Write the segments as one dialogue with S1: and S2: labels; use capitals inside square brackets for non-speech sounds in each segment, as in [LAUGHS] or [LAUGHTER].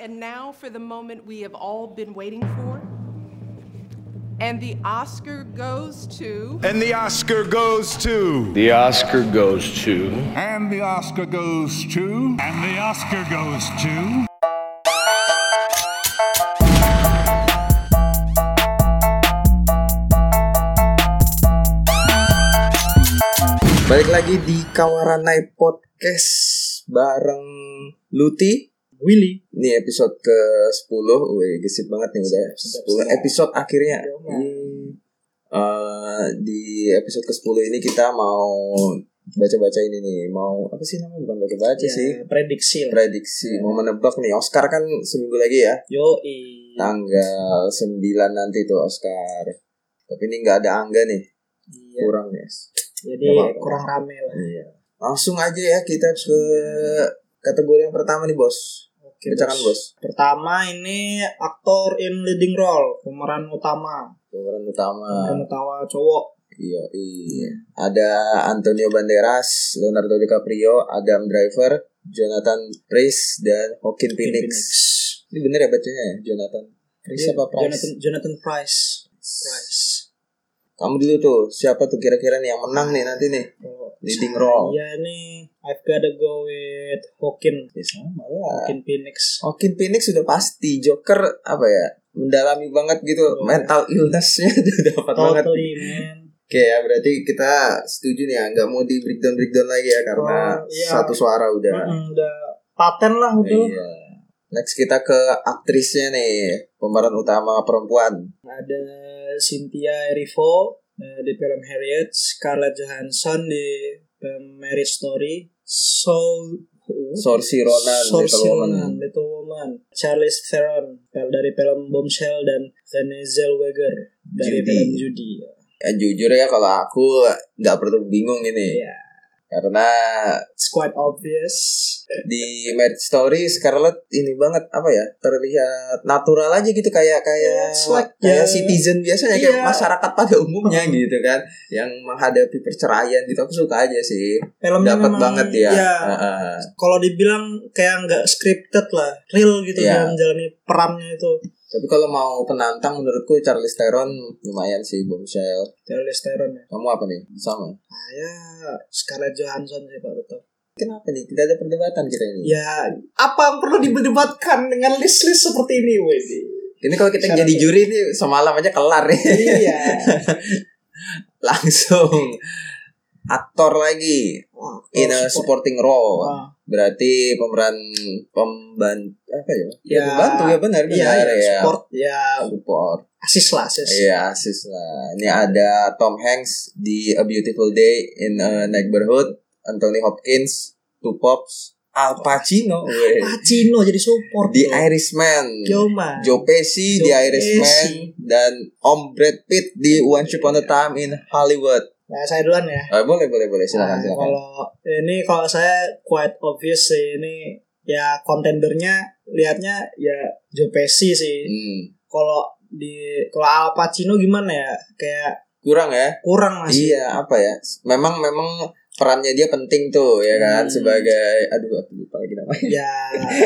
S1: And now for the moment we have all been waiting for. And the Oscar goes to.
S2: And the Oscar goes to.
S3: The Oscar goes to.
S2: And the Oscar goes to.
S4: And the Oscar goes to.
S5: Balik lagi di Kawaranai Podcast bareng Luti, Willy. Ini episode ke-10. Wih, gesit banget nih udah. 10 episode akhirnya. Hmm. Eh, di episode ke-10 ini kita mau baca-baca ini nih. Mau apa sih namanya? Bukan baca-baca
S6: Ya,
S5: sih.
S6: prediksi lah.
S5: Prediksi mau menebak nih Oscar kan seminggu lagi ya.
S6: Yo
S5: Nah, Tanggal 9 nanti tuh Oscar. Tapi ini nggak ada angga nih.
S6: Iya.
S5: Kurang ya.
S6: Jadi
S5: Nggak apa-apa.
S6: kurang rame lah.
S5: Iya. Langsung aja ya kita ke kategori yang pertama nih bos.
S6: Oke,
S5: Bacakan bos.
S6: Pertama ini aktor in leading role, pemeran utama,
S5: Pemeran utama.
S6: pemeran utama cowok.
S5: Iya, iya. Ada Antonio Banderas, Leonardo DiCaprio, Adam Driver, Jonathan Price dan Joaquin Phoenix. Ini bener ya bacanya ya, Jonathan Price
S6: Iya,
S5: apa Price?
S6: Jonathan Jonathan Price. Price.
S5: Kamu dulu tuh, siapa tuh kira-kira nih yang menang nih nanti nih?
S6: Kalau
S5: Leading role.
S6: Oh. Iya nih, I've gotta go with Hawkin,
S5: Ya sama Oh, lah.
S6: Hawkin Phoenix.
S5: Joaquin Phoenix sudah pasti Joker apa ya? Mendalami banget gitu mental illnessnya [LAUGHS] udah dapat banget.
S6: Iya. Totally man.
S5: Oke ya berarti kita setuju nih ya nggak mau di breakdown breakdown lagi ya karena
S6: Oh, iya.
S5: satu suara udah.
S6: Mm-mm, Udah paten lah udah.
S5: Ya. Iya. Next kita ke aktrisnya nih pemeran utama perempuan.
S6: Ada Cynthia Erivo eh, di film Harriet, Scarlett Johansson di film Marriage Story, So
S5: Saoirse Ronan,
S6: Saoirse
S5: Little Woman.
S6: Ronan, Little Woman, Charlize Theron pel- dari film Bombshell dan Renée Zellweger dari
S5: Judy.
S6: film Judy.
S5: Ya, jujur ya kalau aku nggak perlu bingung ini
S6: Ya,
S5: karena
S6: it's quite obvious.
S5: di Marriage Story Scarlett ini banget apa ya terlihat natural aja gitu kayak kayak
S6: Yeah, it's like,
S5: kayak
S6: yeah.
S5: citizen biasanya kayak
S6: Yeah.
S5: masyarakat pada
S6: [LAUGHS]
S5: umumnya gitu kan yang menghadapi perceraian gitu aku suka aja sih
S6: Filmnya
S5: dapat
S6: memang-
S5: banget ya
S6: iya.
S5: Heeh.
S6: Kalau dibilang kayak nggak scripted lah, real gitu
S5: Iya.
S6: dalam menjalani perannya itu.
S5: tapi kalau mau penantang menurutku Charlize Theron lumayan sih bombshell
S6: Charlize Theron ya.
S5: kamu apa nih sama
S6: Saya Scarlett Johansson sih Pak Betul.
S5: kenapa nih tidak ada perdebatan kita ini
S6: Ya, apa yang perlu diperdebatkan dengan list-list seperti ini, Wedi?
S5: ini kalau kita
S6: Syarat
S5: jadi
S6: ya.
S5: juri nih semalam aja kelar nih [LAUGHS]
S6: iya.
S5: langsung aktor lagi
S6: Wah,
S5: in a
S6: Oh, support-
S5: Iya,
S6: Ah.
S5: supporting role
S6: Wah.
S5: berarti pemeran pembantu apa ya?
S6: Ya.
S5: pembantu ya benar
S6: Iya,
S5: benar
S6: ya,
S5: ya.
S6: support ya
S5: Support.
S6: asis lah asis.
S5: Iya, asis lah. Ini ada Tom Hanks di A Beautiful Day in a Neighborhood, Anthony Hopkins, Two Pops, Al Pacino, weh.
S6: Pacino jadi support.
S5: The
S6: loh.
S5: Irishman,
S6: Gilman.
S5: Joe Pesci, The
S6: Joe
S5: Irishman, dan Om Brad Pitt di Once Upon
S6: ya.
S5: a Time in Hollywood.
S6: Nah, saya duluan ya.
S5: Eh, boleh, boleh, boleh.
S6: Nah,
S5: Silakan, silakan.
S6: kalau ini kalau saya quite obvious sih ini ya kontendernya lihatnya ya Joe Pesci sih.
S5: Hmm.
S6: Kalau di kalau Al Pacino gimana ya? Kayak
S5: Kurang ya?
S6: kurang masih.
S5: Iya apa ya? Memang memang perannya dia penting tuh ya kan
S6: Hmm.
S5: sebagai aduh aku lupa lagi namanya. [LAUGHS]
S6: Ya,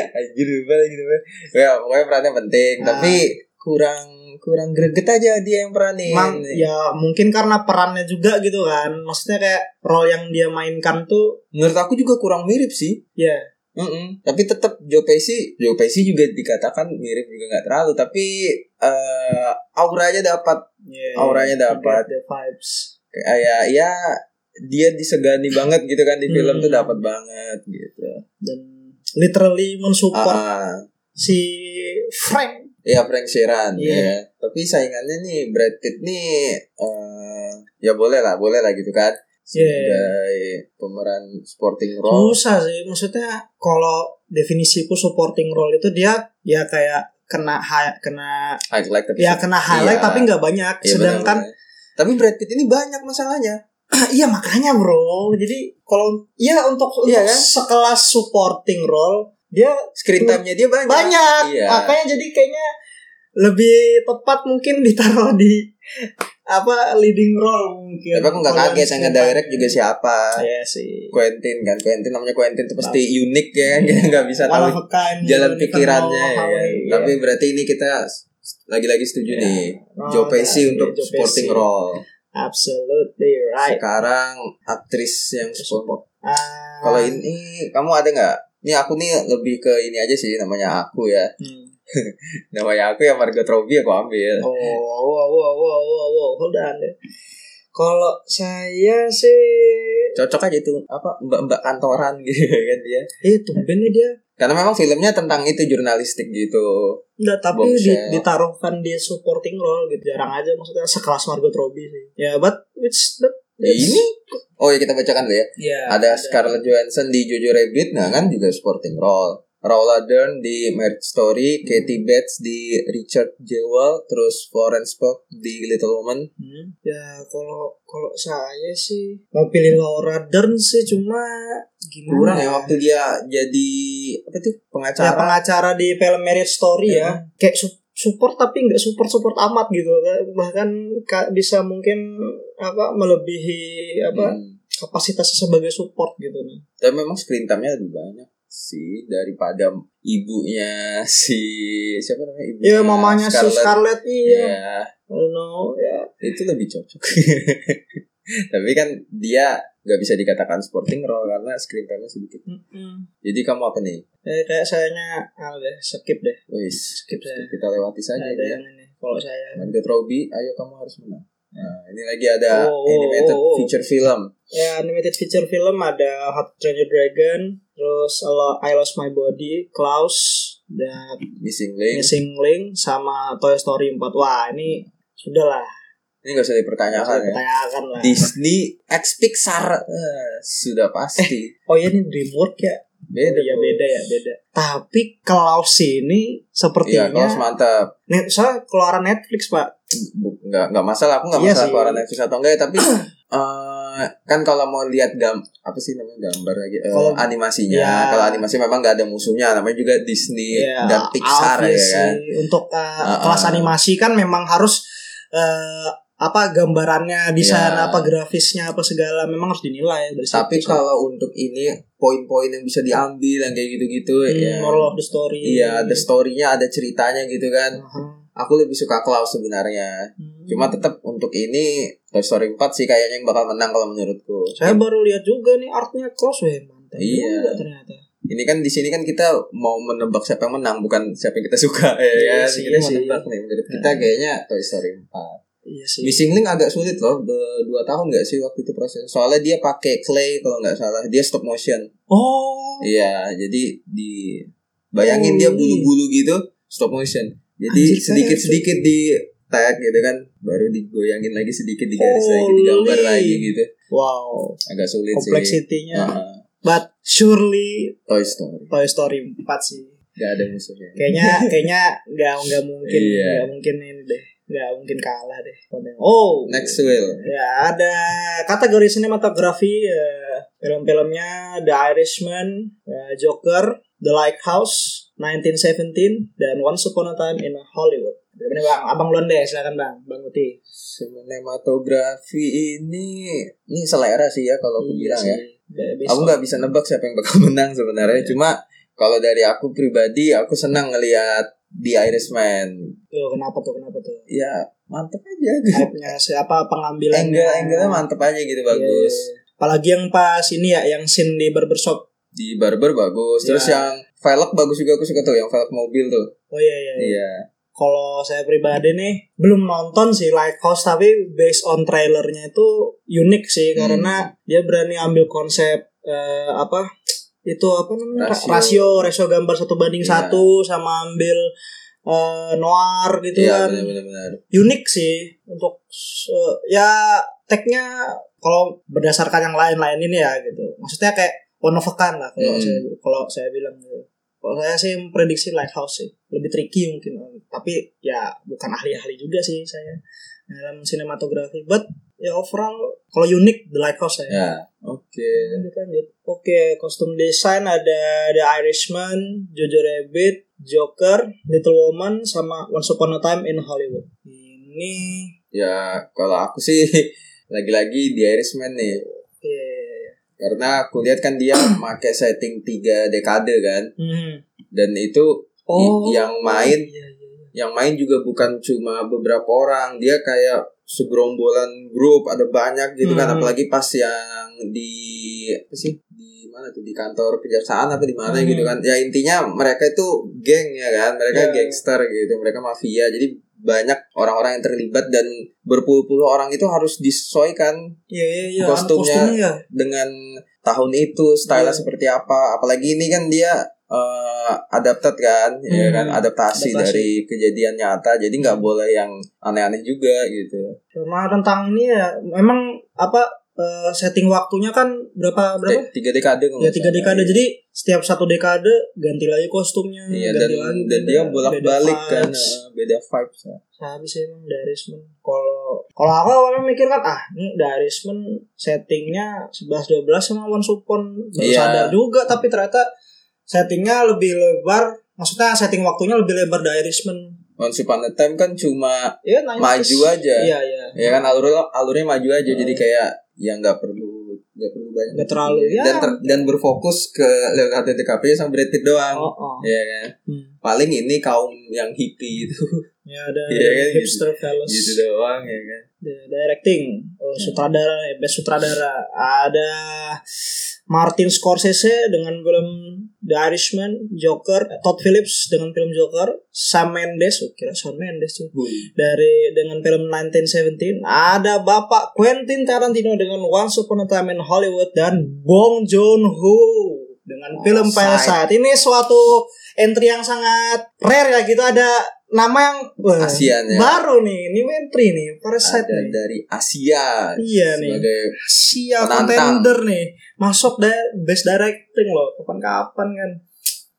S5: Anjir lupa lagi namanya. Ya pokoknya perannya penting
S6: Ah.
S5: tapi kurang kurang greget aja dia yang peranin.
S6: emang ya mungkin karena perannya juga gitu kan. Maksudnya kayak role yang dia mainkan tuh
S5: Menurut aku juga kurang mirip sih.
S6: ya
S5: Mm-mm. Tapi tetap Joe Pesci, Joe Pesci juga dikatakan mirip juga nggak terlalu tapi eh auranya dapat
S6: ya,
S5: Auranya
S6: ya,
S5: dapat.
S6: the vibes.
S5: kayak ya dia disegani banget gitu kan di film
S6: Hmm.
S5: tuh dapat banget gitu.
S6: dan literally mensupport
S5: Ah.
S6: si Frank.
S5: Iya Frank Sheeran
S6: Iya.
S5: ya. Tapi saingannya nih Brad Pitt nih eh, ya boleh lah, boleh lah gitu kan.
S6: Iya.
S5: Sebagai pemeran sporting role.
S6: Susah sih, maksudnya kalau definisiku supporting role itu dia ya kayak kena hi- kena
S5: Highlight Ah, tapi
S6: ya kena highlight
S5: Iya.
S6: tapi nggak banyak.
S5: Iya,
S6: Sedangkan
S5: benar-benar. tapi Brad Pitt ini banyak masalahnya.
S6: [CLEARS THROAT] iya makanya bro. Jadi kalau ya untuk, untuk
S5: Iya, kan?
S6: sekelas supporting role dia
S5: Screen time-nya dia banyak.
S6: banyak.
S5: Iya.
S6: Makanya jadi kayaknya lebih tepat mungkin ditaruh di apa leading role mungkin.
S5: Tapi aku nggak
S6: Kalau
S5: kaget yang ngedirect juga siapa.
S6: Iya sih.
S5: Quentin kan, Quentin namanya Quentin tuh pasti unik ya kan, [LAUGHS] kita nggak bisa
S6: One of
S5: tahu
S6: a kind,
S5: jalan
S6: you never
S5: pikirannya ya.
S6: know how
S5: kan.
S6: he-
S5: Tapi berarti ini kita s- lagi-lagi setuju
S6: Iya.
S5: nih.
S6: Oh,
S5: Joe
S6: iya,
S5: Pesci untuk
S6: Joe
S5: supporting
S6: Pesci.
S5: role.
S6: absolutely right.
S5: Sekarang aktris yang support.
S6: Ah,
S5: Kalau ini kamu ada nggak? Ini aku nih lebih ke ini aja sih namanya aku ya.
S6: hmm.
S5: Namanya aku yang Margot Robbie aku ambil.
S6: Oh, wow, wow, wow, wow, wow, hold on. deh. Kalau saya sih,
S5: Cocok aja itu apa mbak-mbak kantoran [LAUGHS] gitu kan dia.
S6: eh tumben nih dia.
S5: Karena memang filmnya tentang itu jurnalistik gitu.
S6: Nggak, tapi di,
S5: Bombshell.
S6: ditaruhkan di supporting role gitu. Jarang aja maksudnya sekelas Margot Robbie sih. Ya, but which the,
S5: Ya, Ini Oh ya kita bacakan dulu ya.
S6: Ya,
S5: ada Scarlett Johansson di Jojo Rabbit, nah kan juga supporting role. Paula Dern di Marriage Story, Katie Bates di Richard Jewell, terus Florence Pugh di Little Woman.
S6: Hmm. Ya kalau kalau saya sih mau pilih Laura Dern sih cuma gimana?
S5: Kurang ya waktu dia jadi apa tuh
S6: Ya,
S5: pengacara.
S6: pengacara di film Marriage Story
S5: Iya.
S6: ya, kayak su- support tapi nggak support support amat gitu bahkan ka- bisa mungkin apa melebihi apa
S5: Hmm.
S6: kapasitasnya sebagai support gitu nih.
S5: Dan memang screen time-nya lebih banyak sih daripada ibunya si siapa namanya ibunya
S6: Ya mamanya si Scarlett iya.
S5: Ya,
S6: I don't know ya.
S5: itu lebih cocok. [LAUGHS] Tapi kan dia nggak bisa dikatakan supporting role karena screen time-nya sedikit.
S6: Mm-mm.
S5: Jadi kamu apa nih?
S6: Ya, kayak sayanya ah, udah skip deh.
S5: Wis,
S6: Skip saya.
S5: kita lewati saja
S6: Ada
S5: ya.
S6: yang ini kalau saya.
S5: Margot Robbie, ayo kamu harus menang. Nah, ini lagi ada
S6: Oh, oh,
S5: animated
S6: oh, oh.
S5: feature film.
S6: Ya animated feature film ada Hot Train Your Dragon, terus A Lo- I Lost My Body, Klaus, dan
S5: Missing Link.
S6: Missing Link sama Toy Story 4. Wah, ini sudah lah.
S5: Ini gak usah
S6: Nggak
S5: dipertanyakan
S6: usah
S5: ya.
S6: dipertanyakan lah.
S5: Disney X Pixar Eh, sudah pasti.
S6: Oh iya ini DreamWorks ya?
S5: Beda.
S6: ya
S5: Bro.
S6: beda ya, beda. Tapi Klaus ini
S5: Iya,
S6: sepertinya
S5: Klaus mantap.
S6: Net- soalnya keluaran Netflix, Pak.
S5: Bu- Nggak, nggak masalah, aku nggak
S6: Iya
S5: masalah
S6: sih.
S5: keluaran Netflix atau enggak ya, tapi eh, kan kalau mau lihat gam apa sih namanya gambar lagi eh,
S6: Kalau-
S5: animasinya
S6: Iya.
S5: kalau animasi memang nggak ada musuhnya namanya juga Disney
S6: Ya,
S5: dan Pixar ya
S6: obviously.
S5: kan
S6: Untuk uh,
S5: Ah,
S6: kelas
S5: ah.
S6: animasi kan memang harus uh, apa gambarannya bisa
S5: Ya.
S6: apa grafisnya apa segala memang harus dinilai dari
S5: Tapi
S6: situ.
S5: kalau untuk ini poin-poin yang bisa diambil yang kayak gitu-gitu
S6: Hmm,
S5: ya.
S6: moral of the story.
S5: Iya, ada story-nya, ada ceritanya gitu kan.
S6: Aha.
S5: Aku lebih suka Klaus sebenarnya.
S6: Hmm.
S5: Cuma tetap untuk ini Toy Story 4 sih kayaknya yang bakal menang kalau menurutku.
S6: saya baru lihat juga nih artnya close weh mantap
S5: Iya.
S6: juga ternyata.
S5: Ini kan di sini kan kita mau menebak siapa yang menang, bukan siapa yang kita suka [LAUGHS] ya.
S6: Iya
S5: kan?
S6: sih,
S5: kita mau
S6: sih.
S5: tebak nih menurut kita kayaknya Toy Story 4.
S6: Iya sih.
S5: Missing Link agak sulit loh, be- dua tahun nggak sih waktu itu proses. Soalnya dia pakai clay kalau nggak salah, dia stop motion.
S6: Oh.
S5: Iya, jadi di bayangin
S6: Oh,
S5: dia
S6: iya.
S5: bulu-bulu gitu stop motion. Jadi
S6: Anjir,
S5: sedikit-sedikit di tag gitu kan, baru digoyangin lagi sedikit digaris lagi,
S6: Holy.
S5: digambar lagi gitu.
S6: Wow.
S5: Agak sulit Iya sih.
S6: Kompleksitinya.
S5: Heeh,
S6: But surely
S5: Toy Story.
S6: Toy Story 4 sih.
S5: Gak ada musuhnya.
S6: kayaknya
S5: [LAUGHS]
S6: kayaknya nggak nggak mungkin
S5: Iya.
S6: nggak mungkin ini deh nggak mungkin kalah deh oh
S5: Next will.
S6: ya ada kategori sinematografi eh, film-filmnya The Irishman eh, Joker The Lighthouse 1917 dan Once Upon a Time in Hollywood ini bang abang luan deh silakan bang bang Uti
S5: Sinematografi ini ini selera sih ya kalau
S6: Iya
S5: aku bilang ya.
S6: Bisa.
S5: Aku nggak bisa nebak siapa yang bakal [LAUGHS] menang sebenarnya. Cuma kalau dari aku pribadi, aku senang ngelihat The Irishman
S6: Tuh, kenapa tuh kenapa tuh
S5: ya mantep aja gitu.
S6: Hype-nya siapa pengambilan
S5: angle angle mantep aja gitu
S6: Iya,
S5: bagus
S6: apalagi yang pas ini ya yang scene di barbershop
S5: di barber bagus terus
S6: Iya.
S5: yang velg bagus juga aku suka tuh yang velg mobil tuh
S6: oh iya iya, iya.
S5: iya
S6: kalau saya pribadi nih belum nonton sih Lighthouse tapi based on trailernya itu unik sih
S5: Hmm.
S6: karena dia berani ambil konsep eh, apa itu apa namanya
S5: Rasio.
S6: rasio rasio, gambar satu banding
S5: Iya.
S6: satu sama ambil eh, noir gitu
S5: iya
S6: kan
S5: benar-benar
S6: unik sih untuk eh, ya tagnya kalau berdasarkan yang lain-lain ini ya gitu maksudnya kayak one of a kind lah kalau
S5: Hmm.
S6: saya kalau saya bilang gitu kalau saya sih memprediksi lighthouse sih lebih tricky mungkin tapi ya bukan ahli-ahli juga sih saya dalam sinematografi but ya overall kalau unik the lighthouse saya
S5: ya oke
S6: Lanjut, lanjut. Oke, kostum desain ada The Irishman, Jojo Rabbit, Joker, Little Woman, sama Once Upon a Time in Hollywood. Ini
S5: Ya kalau aku sih [LAUGHS] lagi-lagi di Irishman nih.
S6: Iya, iya, iya.
S5: Karena aku lihat kan dia [CLEARS THROAT] pakai setting tiga dekade kan.
S6: Hmm.
S5: Dan itu i-
S6: Oh.
S5: yang main
S6: Iya, iya, iya.
S5: yang main juga bukan cuma beberapa orang dia kayak segerombolan grup ada banyak gitu kan
S6: Hmm.
S5: apalagi pas yang di apa sih di mana tuh di kantor kejaksaan apa di mana
S6: Hmm.
S5: gitu kan ya intinya mereka itu geng ya kan mereka
S6: Ya.
S5: gangster gitu mereka mafia jadi banyak orang-orang yang terlibat dan berpuluh-puluh orang itu harus disesuaikan
S6: Iya, iya, iya.
S5: Kostumnya-
S6: ya.
S5: dengan tahun itu style
S6: Ya.
S5: seperti apa apalagi ini kan dia eh, adapted kan ya
S6: Hmm.
S5: kan adaptasi,
S6: Adaptasi.
S5: dari kejadian nyata jadi nggak boleh yang aneh-aneh juga gitu
S6: Cuma tentang ini ya, memang apa eh, setting waktunya kan berapa berapa?
S5: Te- tiga dekade kalau
S6: Ya
S5: nggak
S6: tiga
S5: salah,
S6: dekade.
S5: iya.
S6: Jadi setiap satu dekade ganti lagi kostumnya,
S5: Iya, dan
S6: ganti lagi.
S5: dan
S6: beda-
S5: dia bolak-balik
S6: beda
S5: kan
S6: vibes.
S5: eh, beda vibes ya.
S6: habis emang Darisman kalau kalau aku awalnya mikir kan ah ini Darisman settingnya 11 12 sama One Supon baru
S5: Iya.
S6: sadar juga tapi ternyata settingnya lebih lebar maksudnya setting waktunya lebih lebar dari Irishman
S5: Once Upon a Time kan cuma
S6: ya nanya
S5: Maju aja.
S6: iya iya
S5: ya kan alur alurnya maju aja jadi kayak yang nggak perlu nggak perlu banyak
S6: Hmm. Nggak terlalu, ya.
S5: dan ter- dan berfokus ke Leonardo DiCaprio sama Brad Pitt doang
S6: oh, oh.
S5: Iya kan
S6: Hmm.
S5: paling ini kaum yang hippie gitu. itu
S6: ya ada
S5: Iya, kan, gitu.
S6: hipster fellas
S5: gitu doang ya kan
S6: The directing oh, sutradara eh, best sutradara ada Martin Scorsese dengan film The Irishman Joker eh, Todd Phillips dengan film Joker Sam Mendes oh, kira Sam Mendes tuh dari dengan film 1917 ada Bapak Quentin Tarantino dengan Once Upon a Time in Hollywood dan Bong Joon-ho
S5: Oh,
S6: dengan film Parasite ini suatu entry yang sangat rare ya gitu ada nama yang wah,
S5: Asian ya.
S6: baru nih ini entry nih Parasite
S5: ada
S6: nih
S5: dari Asia
S6: Iya nih.
S5: sebagai
S6: Sia
S5: Penantang.
S6: contender nih masuk da best directing loh kapan-kapan kan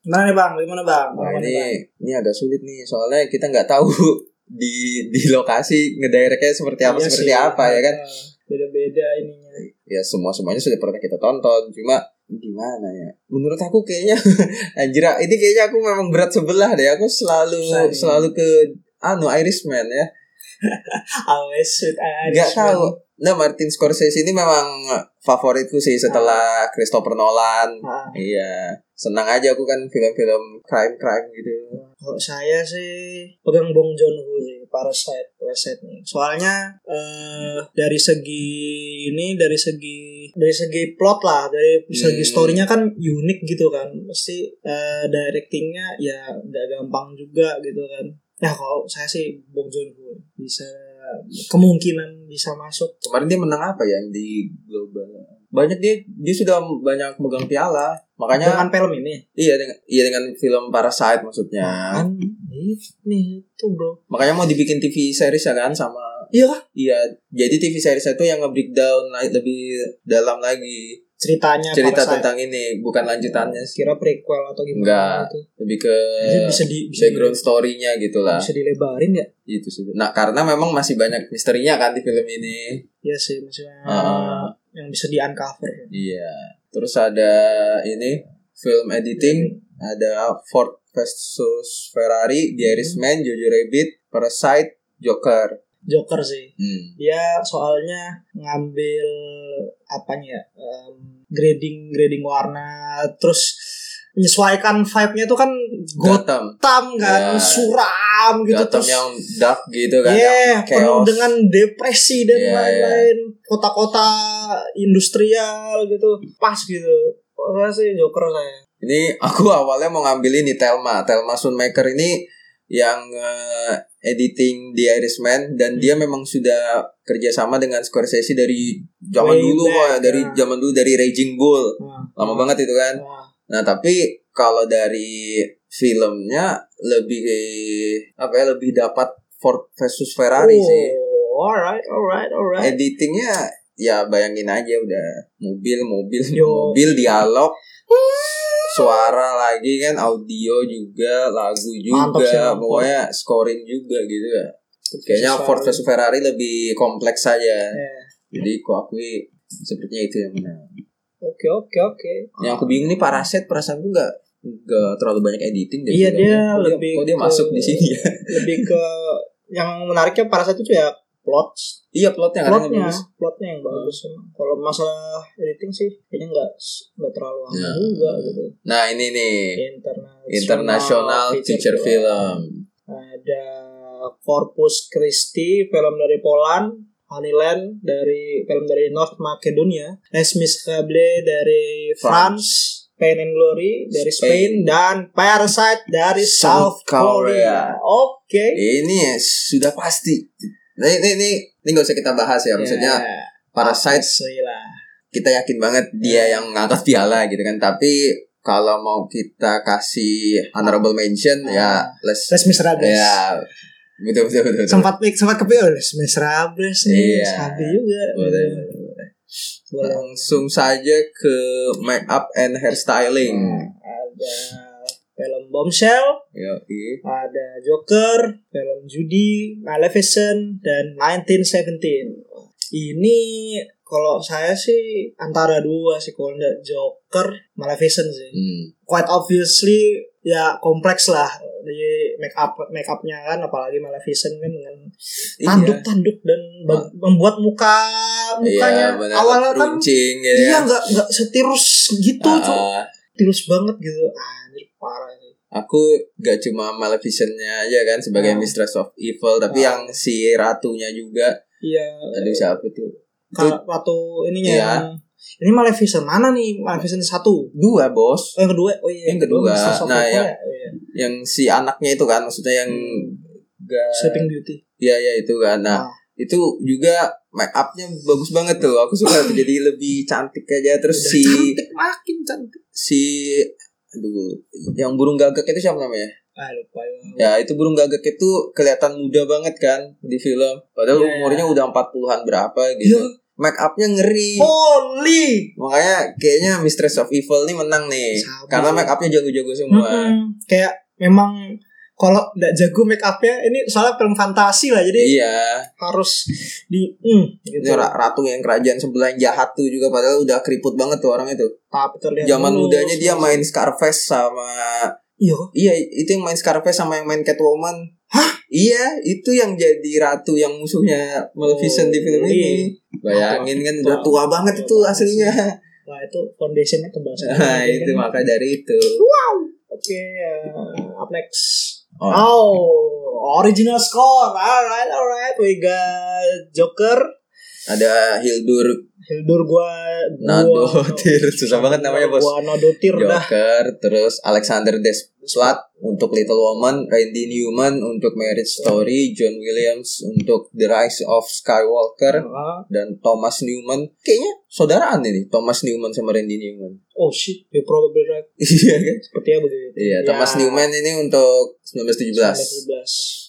S6: gimana nih bang gimana bang
S5: Nah,
S6: Gimana,
S5: ini
S6: Bang?
S5: ini agak sulit nih soalnya kita nggak tahu [LAUGHS] di di lokasi ngedirectnya seperti apa
S6: Iya
S5: seperti
S6: sih,
S5: apa ya kan
S6: eh, beda-beda ininya
S5: ya semua semuanya sudah pernah kita tonton cuma gimana ya menurut aku kayaknya [LAUGHS] anjir ini kayaknya aku memang berat sebelah deh aku selalu
S6: Susah nih.
S5: selalu ke anu Irishman ya
S6: always with Irishman
S5: nggak tahu nah Martin Scorsese ini memang favoritku sih setelah Christopher Nolan
S6: Ah.
S5: iya senang aja aku kan film-film crime crime gitu
S6: Kalau saya sih pegang Bong Joon Ho sih Parasite Parasite nih. Soalnya eh dari segi ini dari segi dari segi plot lah dari segi
S5: Hmm.
S6: storynya kan unik gitu kan. Mesti eh directingnya ya nggak gampang juga gitu kan. Ya kalau saya sih Bong Joon Ho bisa kemungkinan bisa masuk.
S5: kemarin dia menang apa ya yang di global banyak dia dia sudah banyak megang piala makanya
S6: Dengan film ini
S5: iya dengan iya dengan film Parasite maksudnya
S6: kan ini itu bro
S5: makanya mau dibikin TV series ya kan sama
S6: iya kah?
S5: iya jadi TV series itu yang nge-breakdown la- lebih dalam lagi
S6: ceritanya
S5: cerita
S6: Parasite.
S5: tentang ini bukan lanjutannya sih
S6: kira prequel atau gimana
S5: Nggak.
S6: gitu.
S5: lebih ke
S6: Jadi bisa di bisa di-
S5: background story-nya gitu lah
S6: bisa dilebarin ya
S5: itu sih nah karena memang masih banyak misterinya kan di film ini
S6: ya sih maksudnya
S5: Ah.
S6: yang bisa di uncover
S5: iya terus ada ini film editing ada Ford versus Ferrari,
S6: Hmm.
S5: The Irishman, Jojo Rabbit, Parasite, Joker.
S6: Joker sih
S5: Hmm.
S6: dia soalnya ngambil apanya ya em, grading grading warna terus menyesuaikan vibe-nya tuh kan gotham
S5: Gotham. Ya.
S6: kan suram gitu
S5: Gotham
S6: terus
S5: yang dark gitu kan
S6: yeah,
S5: yang chaos.
S6: penuh dengan depresi dan
S5: Iya,
S6: lain-lain kota-kota industrial gitu pas gitu saya sih Joker saya
S5: ini aku awalnya mau ngambil ini Telma Telma Sunmaker ini yang eh, editing The Irishman dan dia
S6: Hmm.
S5: memang sudah kerjasama dengan Scorsese dari zaman
S6: Way
S5: dulu
S6: back,
S5: kok ya, dari
S6: ya.
S5: zaman dulu dari Raging Bull
S6: Nah,
S5: lama banget itu kan
S6: nah,
S5: nah tapi kalau dari filmnya lebih apa ya lebih dapat Ford versus Ferrari
S6: oh,
S5: sih
S6: alright alright alright
S5: editingnya ya bayangin aja udah mobil mobil
S6: Yo.
S5: mobil dialog suara lagi kan audio juga lagu
S6: Mantap sih,
S5: juga
S6: mantap.
S5: pokoknya scoring juga gitu ya kayaknya
S6: Ferrari.
S5: Ford versus Ferrari lebih kompleks saja
S6: Eh,
S5: jadi aku akui sepertinya itu yang menang
S6: Oke oke oke.
S5: yang aku bingung nih Paraset perasaan gue nggak nggak terlalu banyak editing deh
S6: Iya,
S5: filmnya.
S6: dia
S5: Kok
S6: lebih
S5: kok dia
S6: ke- [LAUGHS]
S5: masuk di sini ya [LAUGHS]
S6: Lebih ke yang menariknya para satu tuh ya plot
S5: Iya plotnya karena
S6: plotnya
S5: bagus. Hmm.
S6: plotnya yang bagus emang. kalau masalah editing sih kayaknya nggak nggak terlalu lama
S5: Ya.
S6: juga gitu
S5: Nah ini nih
S6: international
S5: international feature film.
S6: ada Corpus Christi film dari Poland Honeyland dari film dari North Macedonia Les Miserables dari France Pain and Glory dari Spain,
S5: Spain.
S6: dan Parasite dari
S5: South
S6: South, Korea.
S5: Korea.
S6: Oke.
S5: Ini ya, sudah pasti. Nah, ini ini ini nggak usah kita bahas ya maksudnya
S6: Ya,
S5: Parasite
S6: asli lah.
S5: kita yakin banget dia
S6: Iya.
S5: yang ngangkat piala gitu kan tapi kalau mau kita kasih honorable mention
S6: Ah.
S5: ya les
S6: Les Miserables.
S5: ya betul betul betul, betul.
S6: sempat sempat ke PO Les Miserables nih
S5: Iya.
S6: sabi juga
S5: Boleh, boleh, boleh.
S6: Boleh.
S5: langsung saja ke make up and hairstyling
S6: Hmm. ada film Bombshell
S5: Yoi.
S6: ada Joker film Judy Maleficent dan 1917 ini kalau saya sih antara dua sih kalau nggak Joker Maleficent sih
S5: Hmm.
S6: quite obviously ya kompleks lah di make up make upnya kan apalagi Maleficent kan dengan
S5: Iya. Ah.
S6: tanduk tanduk dan ba- membuat muka
S5: Iya,
S6: mukanya
S5: benar.
S6: awalnya kan
S5: runcing gitu
S6: dia
S5: ya.
S6: nggak nggak setirus gitu tuh
S5: Ah,
S6: tirus banget gitu anjir parah sih
S5: aku gak cuma Maleficent-nya aja kan sebagai
S6: Ah.
S5: Mistress of Evil tapi
S6: Ah.
S5: yang si ratunya juga
S6: iya
S5: aduh siapa tuh
S6: kalau waktu ininya
S5: Iya.
S6: yang- ini Maleficent mana nih Maleficent satu
S5: dua bos
S6: oh, yang kedua oh iya
S5: Yang kedua.
S6: Mistress of
S5: Nah,
S6: Evil
S5: yang-
S6: ya? Oh, iya.
S5: yang si anaknya itu kan maksudnya yang gak
S6: Sleeping Beauty
S5: iya ya itu kan nah
S6: Hmm. Ah.
S5: itu juga make upnya bagus banget tuh aku suka tuh,
S6: [COUGHS]
S5: jadi lebih cantik aja terus si
S6: cantik makin cantik
S5: si aduh yang burung gagak itu siapa namanya
S6: ah lupa ya.
S5: ya itu burung gagak itu kelihatan muda banget kan di film padahal
S6: Iya, iya.
S5: umurnya udah 40-an berapa gitu
S6: Iya. Oh.
S5: make upnya ngeri
S6: Holy
S5: makanya kayaknya Mistress of Evil nih menang nih
S6: Sama
S5: karena
S6: sih.
S5: make upnya jago-jago semua
S6: Mm-mm. kayak memang kalau nggak jago make upnya ini soalnya film fantasi lah jadi
S5: iya
S6: harus di mm, gitu
S5: Ini ra- ratu yang kerajaan sebelah yang jahat tuh juga padahal udah keriput banget tuh orang itu.
S6: tapi terlihat
S5: Zaman
S6: mulus,
S5: mudanya dia
S6: mulus.
S5: main Scarface sama
S6: iya
S5: iya itu yang main Scarface sama yang main Catwoman. Hah? Iya, itu yang jadi ratu yang musuhnya Maleficent di film
S6: Holy.
S5: ini. Bayangin kan udah
S6: Tua.
S5: tua banget itu aslinya.
S6: Nah itu foundationnya tebal sekali.
S5: [LAUGHS] Nah, itu
S6: Kan?
S5: maka dari itu.
S6: Oke, uh, up next.
S5: Oh.
S6: Oh, original score. Alright, alright. We got Joker.
S5: Ada Hildur
S6: Hildur gua, gua [LAUGHS]
S5: Nadotir, susah banget namanya, Bos.
S6: Gua Nadotir dah.
S5: Joker, terus Alexander Desplat untuk Little Woman, Randy Newman untuk Marriage Story, John Williams untuk The Rise of Skywalker,
S6: Ah,
S5: dan Thomas Newman. Kayaknya saudaraan ini, Thomas Newman sama Randy Newman. [LAUGHS]
S6: Oh shit, you probably right.
S5: Iya kan?
S6: Sepertinya begitu.
S5: Iya,
S6: Ya,
S5: Thomas Newman ini untuk 1917.
S6: 1917.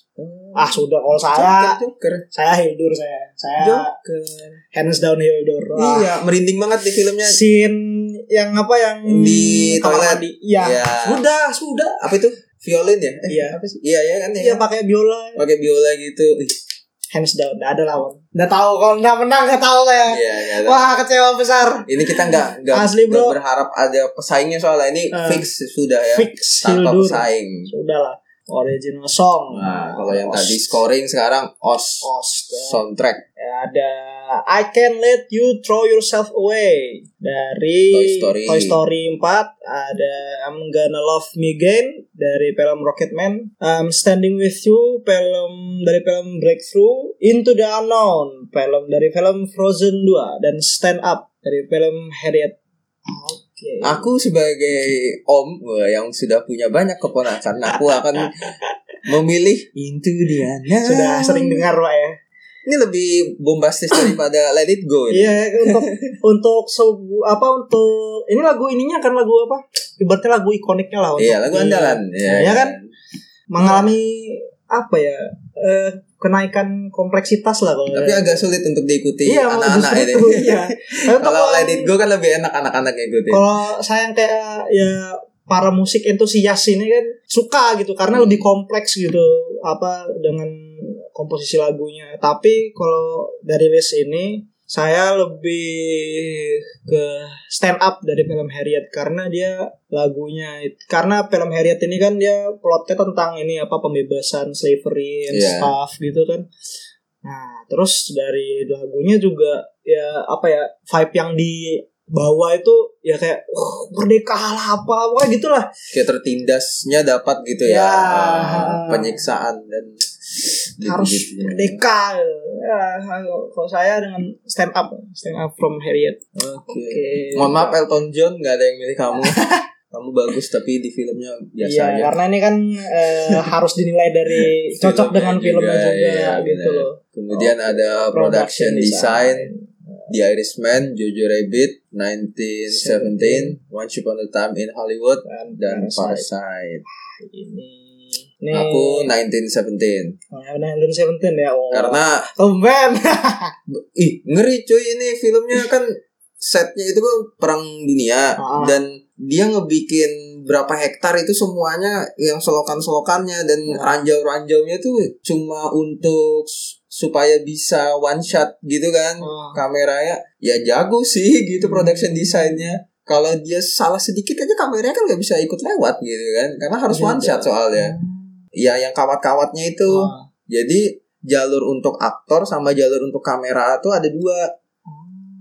S6: Ah sudah kalau saya
S5: Joker.
S6: saya Hildur saya. Saya
S5: Joker.
S6: hands down Hildur. Wah.
S5: Iya, merinding banget di filmnya.
S6: Scene yang apa yang
S5: Di
S6: kamar
S5: toilet.
S6: mandi. Iya.
S5: Iya.
S6: Sudah, sudah.
S5: Apa itu? Violin ya? Eh,
S6: Iya.
S5: apa sih? Iya, iya kan ya.
S6: Iya pakai biola.
S5: Pakai biola gitu. Ih,
S6: Hands down, nggak ada lawan. Nggak tahu kalau nggak menang nggak tahu lah ya.
S5: Iya, iya.
S6: Wah kecewa besar.
S5: Ini kita nggak nggak
S6: Asli,
S5: nggak
S6: bro.
S5: berharap ada pesaingnya soalnya ini
S6: Eh,
S5: fix sudah ya
S6: Fix
S5: tanpa
S6: Hildur.
S5: pesaing.
S6: Sudah lah. Original song.
S5: Nah, kalau yang
S6: Os-
S5: tadi scoring sekarang os
S6: Os, ya.
S5: soundtrack
S6: ada I Can Let You Throw Yourself Away dari
S5: Toy Story.
S6: Story 4 ada I'm Gonna Love Me Again dari film Rocketman um, Standing With You film dari film Breakthrough Into the Unknown film dari film Frozen 2 dan Stand Up dari film Harriet Oke
S5: Aku sebagai om wah, yang sudah punya banyak keponakan, aku
S6: [LAUGHS]
S5: akan memilih Into the Unknown.
S6: sudah sering dengar pak ya
S5: Ini lebih bombastis daripada Let It Go. ini.
S6: Iya untuk
S5: [LAUGHS]
S6: untuk sebu- apa untuk ini lagu ininya kan lagu apa? Ibaratnya lagu ikoniknya lah. untuk
S5: Iya, lagu
S6: di-
S5: andalan.
S6: Iya kan? Mengalami apa ya? Eh, kenaikan kompleksitas lah kalau. ya.
S5: Tapi agak sulit untuk diikuti
S6: iya,
S5: anak-anak
S6: justru
S5: ini.
S6: itu, Iya. Tapi untuk
S5: [LAUGHS] Kalau Let
S6: orang-
S5: It Go kan lebih enak anak-anak ngikutin.
S6: Kalau saya yang kayak ya para musik entusias ini kan suka gitu karena lebih
S5: Hmm.
S6: kompleks gitu apa dengan komposisi lagunya. Tapi kalau dari list ini saya lebih ke stand up dari film Harriet karena dia lagunya it- karena film Harriet ini kan dia plotnya tentang ini apa pembebasan slavery and
S5: Iya.
S6: stuff gitu kan. Nah, terus dari lagunya juga ya apa ya vibe yang dibawa itu ya kayak "Wah, merdeka lah apa pokoknya gitulah.
S5: kayak tertindasnya dapat gitu ya,
S6: Ya.
S5: eh, penyiksaan dan
S6: harus
S5: gitu-gitu. iya.
S6: merdeka. Ya, kalau saya dengan stand up, stand up from Harriet.
S5: Oke.
S6: Oke.
S5: Mohon maaf Elton John nggak ada yang milih
S6: [LAUGHS]
S5: kamu. kamu bagus tapi di filmnya biasa
S6: Iya,
S5: aja.
S6: karena ini kan eh, harus dinilai
S5: [LAUGHS]
S6: dari cocok
S5: Filmnya
S6: dengan filmnya juga,
S5: iya,
S6: gitu
S5: benar.
S6: loh.
S5: Kemudian ada production design, The Irishman, Jojo Rabbit, 1917, Once Upon a Time in Hollywood,
S6: kan,
S5: dan
S6: Parasite.
S5: Parasite.
S6: ini. Ini
S5: Aku 1917
S6: 1917 ya. Oh.
S5: karena [LAUGHS]
S6: Tumben.
S5: ih ngeri cuy ini filmnya kan setnya itu kan perang dunia
S6: Ah.
S5: dan dia ngebikin berapa hektar itu semuanya yang selokan-selokannya dan
S6: Ah.
S5: ranjau-ranjaunya tuh cuma untuk s- supaya bisa one shot gitu kan
S6: Ah. Hmm.
S5: kameranya ya jago sih gitu production desainnya kalau dia salah sedikit aja kameranya kan nggak bisa ikut lewat gitu kan karena harus
S6: Iya,
S5: one shot soalnya ya yang kawat-kawatnya itu
S6: Ah.
S5: jadi jalur untuk aktor sama jalur untuk kamera tuh ada dua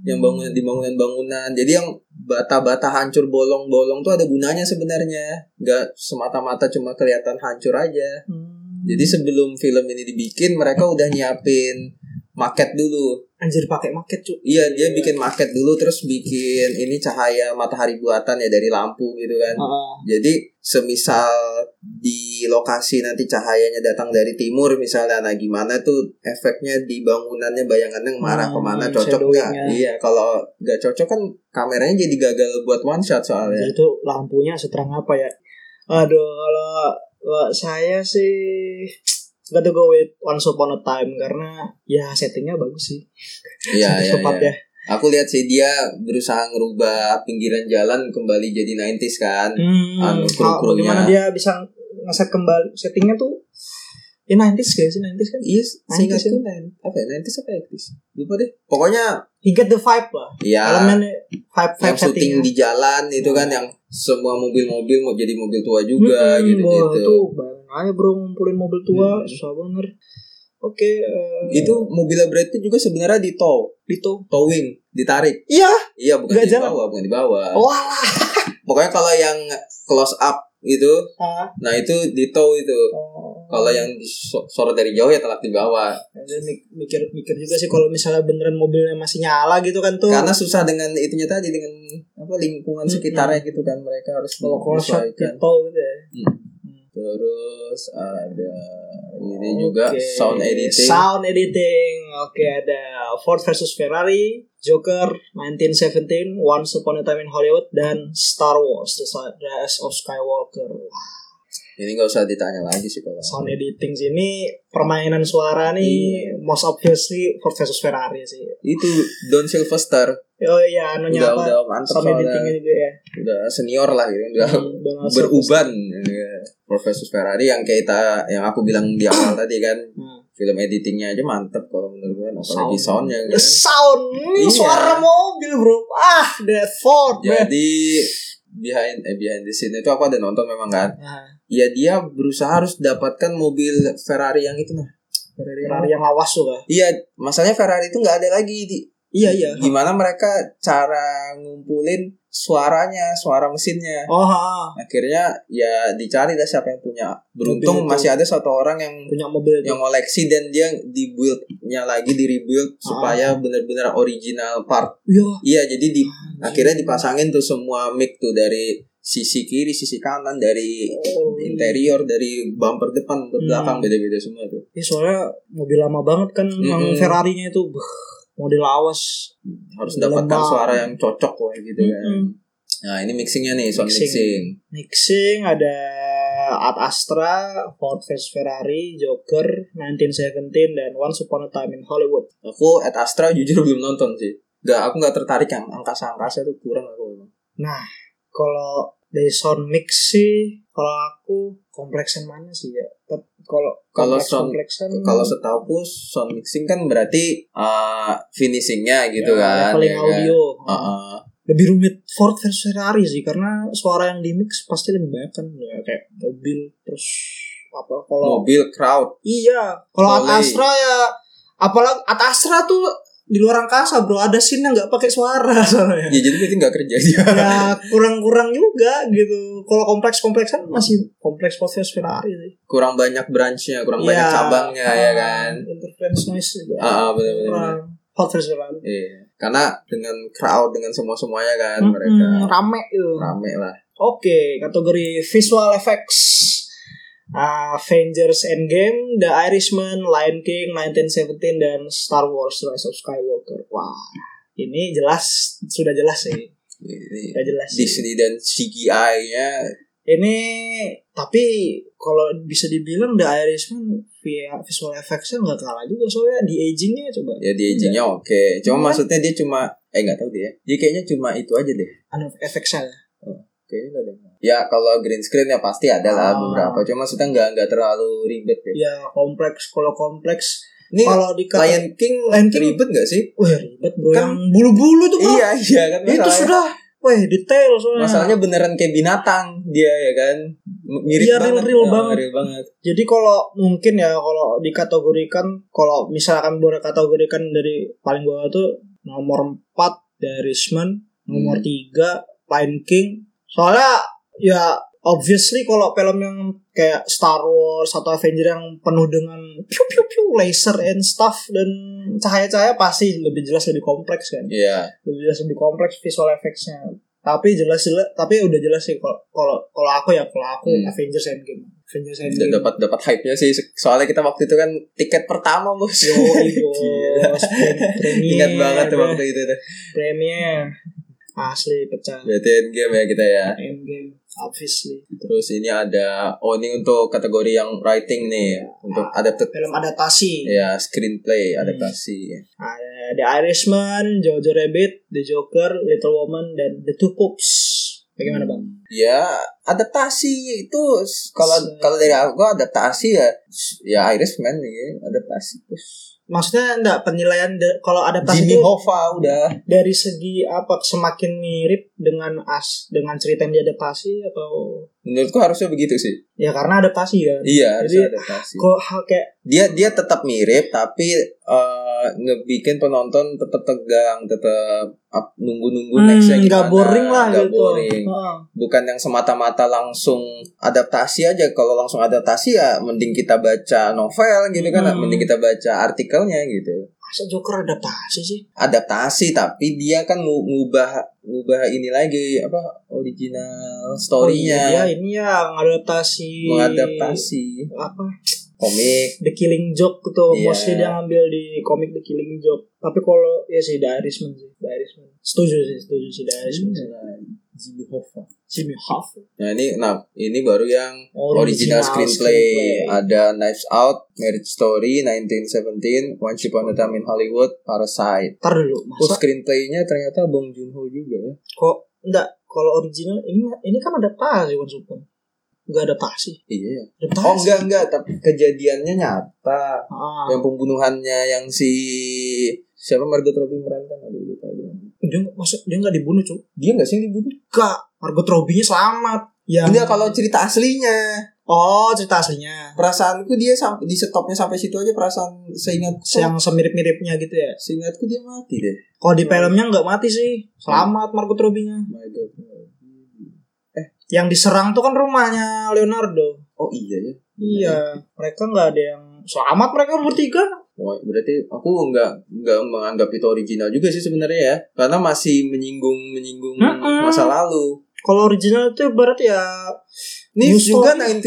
S5: yang bangun di bangunan-bangunan. Jadi yang bata-bata hancur bolong-bolong tuh ada gunanya sebenarnya. Nggak semata-mata cuma kelihatan hancur aja.
S6: Hmm.
S5: Jadi sebelum film ini dibikin mereka udah nyiapin maket dulu.
S6: Anjir pakai market cuy.
S5: Iya, dia bikin maket dulu terus bikin ini cahaya matahari buatan ya dari lampu gitu kan.
S6: Ah,
S5: Jadi semisal di lokasi nanti cahayanya datang dari timur misalnya, nah gimana tuh efeknya di bangunannya bayangannya ngarah
S6: Hmm,
S5: kemana cocok nggak?
S6: shadowingnya.
S5: Iya kalau nggak cocok kan kameranya jadi gagal buat one shot soalnya.
S6: jadi itu lampunya seterang apa ya? Aduh, kalau kalau saya sih gotta go with Once Upon a Time karena ya settingnya bagus sih. [LAUGHS]
S5: Iya
S6: Setting
S5: iya.
S6: tepat
S5: iya.
S6: ya.
S5: Aku lihat sih dia berusaha ngerubah pinggiran jalan kembali jadi 90s kan.
S6: Hmm,
S5: Anu,
S6: kalau
S5: kru-krunya.
S6: bagaimana dia bisa ngeset kembali settingnya tuh ya 90s guys, 90s kan.
S5: Iya, seingatku
S6: 90s.
S5: 90s. apa ya? 90s apa 80s? Lupa deh. Pokoknya
S6: You get the vibe lah.
S5: ya
S6: Elemen vibe
S5: yang
S6: vibe
S5: syuting
S6: settingnya.
S5: di jalan itu kan yang semua mobil-mobil mau jadi mobil tua juga
S6: Mm-mm, wah,
S5: gitu-gitu.
S6: Itu bayangin aja bro ngumpulin mobil tua
S5: Hmm.
S6: susah banget. Oke, eh,
S5: Itu mobilnya Brad Pitt juga sebenarnya di tow, di tow, towing, ditarik.
S6: Iya.
S5: Iya, bukan
S6: Nggak
S5: di
S6: jalan. Oh.
S5: bawah, bukan di bawah.
S6: Wah.
S5: Pokoknya kalau yang close up itu,
S6: Ah,
S5: nah itu di tow itu.
S6: oh.
S5: Kalau yang disorot dari jauh ya telak di bawah.
S6: Jadi mik- mikir mikir juga sih kalau misalnya beneran mobilnya masih nyala gitu kan tuh.
S5: Karena susah dengan itunya tadi dengan apa lingkungan
S6: Mm-mm.
S5: sekitarnya gitu kan mereka harus
S6: kalau close shot
S5: menyesuaikan.
S6: gitu gitu ya.
S5: Hmm. Terus ada ini juga
S6: Oke.
S5: sound editing.
S6: Sound editing. Oke, ada Ford versus Ferrari, Joker 1917, Once Upon a Time in Hollywood dan Star Wars The Rise of Skywalker. Wah,
S5: Ini nggak usah ditanya lagi sih kalau.
S6: sound editing sini permainan suara nih
S5: Iya.
S6: most obviously Ford versus Ferrari sih.
S5: Itu Don Sylvester
S6: Oh iya, anunya
S5: Udah-
S6: apa?
S5: udah mantep
S6: sound
S5: soalnya.
S6: editingnya juga ya.
S5: udah senior lah gitu, udah
S6: Hmm, Donald
S5: beruban Iya. Profesor Ferrari yang kayak kita yang aku bilang di awal tadi kan
S6: Hmm.
S5: film editingnya aja mantep kalau menurut gue apalagi
S6: Sound.
S5: soundnya
S6: Ya,
S5: kan.
S6: sound Ini
S5: Iya.
S6: suara mobil bro ah that Ford man.
S5: Jadi behind eh, behind the scene itu aku ada nonton memang kan.
S6: Nah,
S5: Ya dia berusaha harus dapatkan mobil Ferrari yang itu nah. Ferrari yang
S6: Ferrari yang lawas juga
S5: Iya, masalahnya Ferrari itu nggak ada lagi di. Iya iya. Gimana mereka cara ngumpulin suaranya, suara mesinnya?
S6: oh ha, ha.
S5: Akhirnya ya dicari lah siapa yang punya. Beruntung
S6: Mobil itu.
S5: masih ada satu orang yang
S6: punya mobil
S5: yang koleksi dan dia dibuildnya lagi di
S6: Ah.
S5: rebuild supaya benar-benar original part.
S6: Iya.
S5: Iya, jadi di
S6: Ah,
S5: akhirnya dipasangin tuh semua mic tuh dari sisi kiri, sisi kanan, dari
S6: Oh, iya.
S5: interior, dari bumper depan,
S6: Hmm.
S5: bumper belakang beda-beda semua tuh.
S6: Ya, soalnya mobil lama banget kan yang
S5: Mm-mm.
S6: Ferrarinya itu Beuh, model lawas
S5: harus
S6: Lemah.
S5: dapatkan suara yang cocok lah gitu kan.
S6: Mm-mm.
S5: Nah ini mixingnya nih sound
S6: Mixing.
S5: mixing.
S6: mixing ada Ad Astra, Ford vs Ferrari, Joker, 1917 dan Once Upon a Time in Hollywood.
S5: Aku at Astra jujur [LAUGHS] belum nonton sih. Gak, aku gak tertarik yang angkasa-angkasa tuh kurang aku memang.
S6: Nah, kalau dari sound mix sih, kalau aku kompleksan mana sih ya? Tep- Kalau
S5: Kalau
S6: kompleks-
S5: sound-
S6: kompleksan
S5: Kalau setahuku sound mixing kan berarti uh, finishingnya gitu
S6: ya,
S5: kan.
S6: leveling
S5: ya kan?
S6: audio.
S5: Uh-uh.
S6: lebih rumit Ford versus Ferrari sih karena suara yang di mix pasti lebih banyak kan ya kayak mobil terus apa kalau
S5: Mobil crowd.
S6: iya kalau Ad
S5: Volley.
S6: Astra ya Apalagi Atasra tuh di luar angkasa bro ada scene yang nggak pakai suara [LAUGHS] soalnya.
S5: Ya jadi berarti nggak kerja dia.
S6: ya kurang-kurang juga gitu. Kalau kompleks-kompleksan masih kompleks podcast Ferrari sih.
S5: [LAUGHS] Kurang banyak branchnya, kurang banyak
S6: Ya,
S5: cabangnya ya
S6: ah,
S5: kan.
S6: Interference noise juga.
S5: Ah, ah, benar benar. benar.
S6: kurang. Podcast Ferrari.
S5: Iya. Karena dengan crowd dengan semua semuanya kan
S6: Hmm,
S5: mereka
S6: Mm-mm, rame gitu.
S5: rame lah.
S6: Oke, kategori visual effects. Ah, Avengers Endgame, The Irishman, Lion King, 1917, dan Star Wars Rise of Skywalker. Wah, ini jelas, sudah jelas sih.
S5: Ini
S6: Sudah jelas sih.
S5: Disney dan CGI-nya
S6: Ini, tapi kalau bisa dibilang The Irishman via visual effects-nya nggak kalah juga soalnya di agingnya coba.
S5: ya di agingnya
S6: Iya.
S5: oke. Cuma maksudnya dia cuma eh nggak tahu dia. Dia kayaknya cuma itu aja deh.
S6: Anu efeknya ya.
S5: Kayaknya nggak ada. yang lain. Ya kalau green screen ya pasti ada lah
S6: Ah.
S5: beberapa. Cuma maksudnya nggak nggak terlalu ribet ya.
S6: Ya kompleks, kalau kompleks.
S5: Ini
S6: kalau di
S5: Lion King,
S6: Lion King-
S5: ribet nggak sih?
S6: Wah ribet bro,
S5: Kan-
S6: yang bulu-bulu tuh bro.
S5: Iya iya kan.
S6: itu
S5: masalahnya.
S6: sudah weh detail soalnya
S5: Masalahnya beneran kayak binatang dia ya kan. M- Mirip
S6: Iya,
S5: banget.
S6: real-real
S5: Ah,
S6: banget.
S5: real banget.
S6: jadi kalau mungkin ya kalau dikategorikan kalau misalkan boleh kategorikan dari paling bawah tuh nomor 4 The Irishman nomor
S5: Hmm.
S6: 3 Lion King soalnya ya obviously kalau film yang kayak Star Wars atau Avenger yang penuh dengan piu piu piu laser and stuff dan cahaya-cahaya pasti lebih jelas lebih kompleks kan
S5: Iya.
S6: lebih jelas lebih kompleks visual effects-nya. Tapi jelas jelas tapi udah jelas sih kalau kalau kalau aku ya kalau aku
S5: Hmm.
S6: Avengers Endgame. Avengers
S5: Dan
S6: Endgame.
S5: dapat dapat hype-nya sih soalnya kita waktu itu kan tiket pertama bos.
S6: Yo, [LAUGHS] bos. Premier.
S5: [LAUGHS] Ingat banget tuh waktu itu tuh.
S6: Premier. Asli pecah.
S5: Berarti endgame ya kita ya.
S6: Endgame obviously.
S5: Terus ini ada oh ini untuk kategori yang writing nih untuk adapted
S6: Iya. Film Hmm. adaptasi.
S5: ya screenplay adaptasi.
S6: Ada The Irishman, Jojo Rabbit, The Joker, Little Woman dan The Two Popes. Bagaimana, Bang?
S5: Ya adaptasi itu s- kalau
S6: Se-
S5: kalau dari aku adaptasi ya s- ya Irishman nih adaptasi terus.
S6: Maksudnya enggak penilaian de- kalau adaptasi
S5: Jimmy
S6: itu
S5: Hoffa udah
S6: dari segi apa semakin mirip dengan as dengan cerita yang diadaptasi atau
S5: menurutku harusnya begitu sih.
S6: ya karena adaptasi kan
S5: Iya harusnya
S6: Jadi,
S5: adaptasi.
S6: kok ha- kayak
S5: dia dia tetap mirip tapi eh, ngebikin penonton tetap tegang tetap up- nunggu-nunggu nextnya gimana
S6: hmm, nggak boring lah
S5: nggak
S6: gitu
S5: boring
S6: Heeh.
S5: bukan yang semata-mata langsung adaptasi aja kalau langsung adaptasi ya mending kita baca novel gitu kan
S6: Hmm.
S5: mending kita baca artikelnya gitu
S6: masa Joker adaptasi sih
S5: adaptasi tapi dia kan ngu- ngubah ngubah ini lagi apa original
S6: ya
S5: storynya
S6: ini ya
S5: iya.
S6: ngadaptasi
S5: mengadaptasi
S6: apa
S5: komik
S6: The Killing Joke gitu
S5: Iya.
S6: mostly dia ngambil di komik The Killing Joke tapi kalau ya sih The Irishman sih The Irishman setuju sih setuju sih The Irishman sih.
S5: Iya, Jimmy Hoffa
S6: Jimmy Hoffa
S5: Nah ini, nah ini baru yang
S6: Original
S5: original, screenplay.
S6: screenplay.
S5: Ada Knives Out, Marriage Story, 1917, Once Upon a Time in Hollywood, Parasite.
S6: ntar dulu
S5: Oh
S6: masa
S5: screenplaynya ternyata Bong Joon Ho juga ya?
S6: kok enggak kalau original ini ini kan adaptasi kan Supun nggak adaptasi
S5: Iya. ya.
S6: adaptasi
S5: Oh enggak enggak, tapi kejadiannya nyata.
S6: ah.
S5: Yang pembunuhannya yang si siapa Margot Robbie merankan aduh lupa dia.
S6: dia maksud dia nggak dibunuh cuy
S5: Dia enggak sih yang dibunuh?
S6: Enggak, Margot Robbie-nya selamat. Yang
S5: Enggak kalau cerita aslinya.
S6: oh cerita aslinya
S5: Perasaanku dia sampai di stopnya sampai situ aja perasaan seingat
S6: yang semirip-miripnya gitu ya.
S5: seingatku dia mati deh.
S6: Kalau di filmnya nggak mati sih, selamat Margot Robbie-nya.
S5: Margot Robbie.
S6: Yang diserang tuh kan rumahnya Leonardo.
S5: Oh iya ya.
S6: Iya, mereka nggak ada yang selamat mereka bertiga.
S5: Wah, berarti aku nggak nggak menganggap itu original juga sih sebenarnya ya karena masih menyinggung menyinggung
S6: Mm-mm.
S5: masa lalu
S6: Kalau original itu berarti ya
S5: ini
S6: New
S5: juga
S6: story.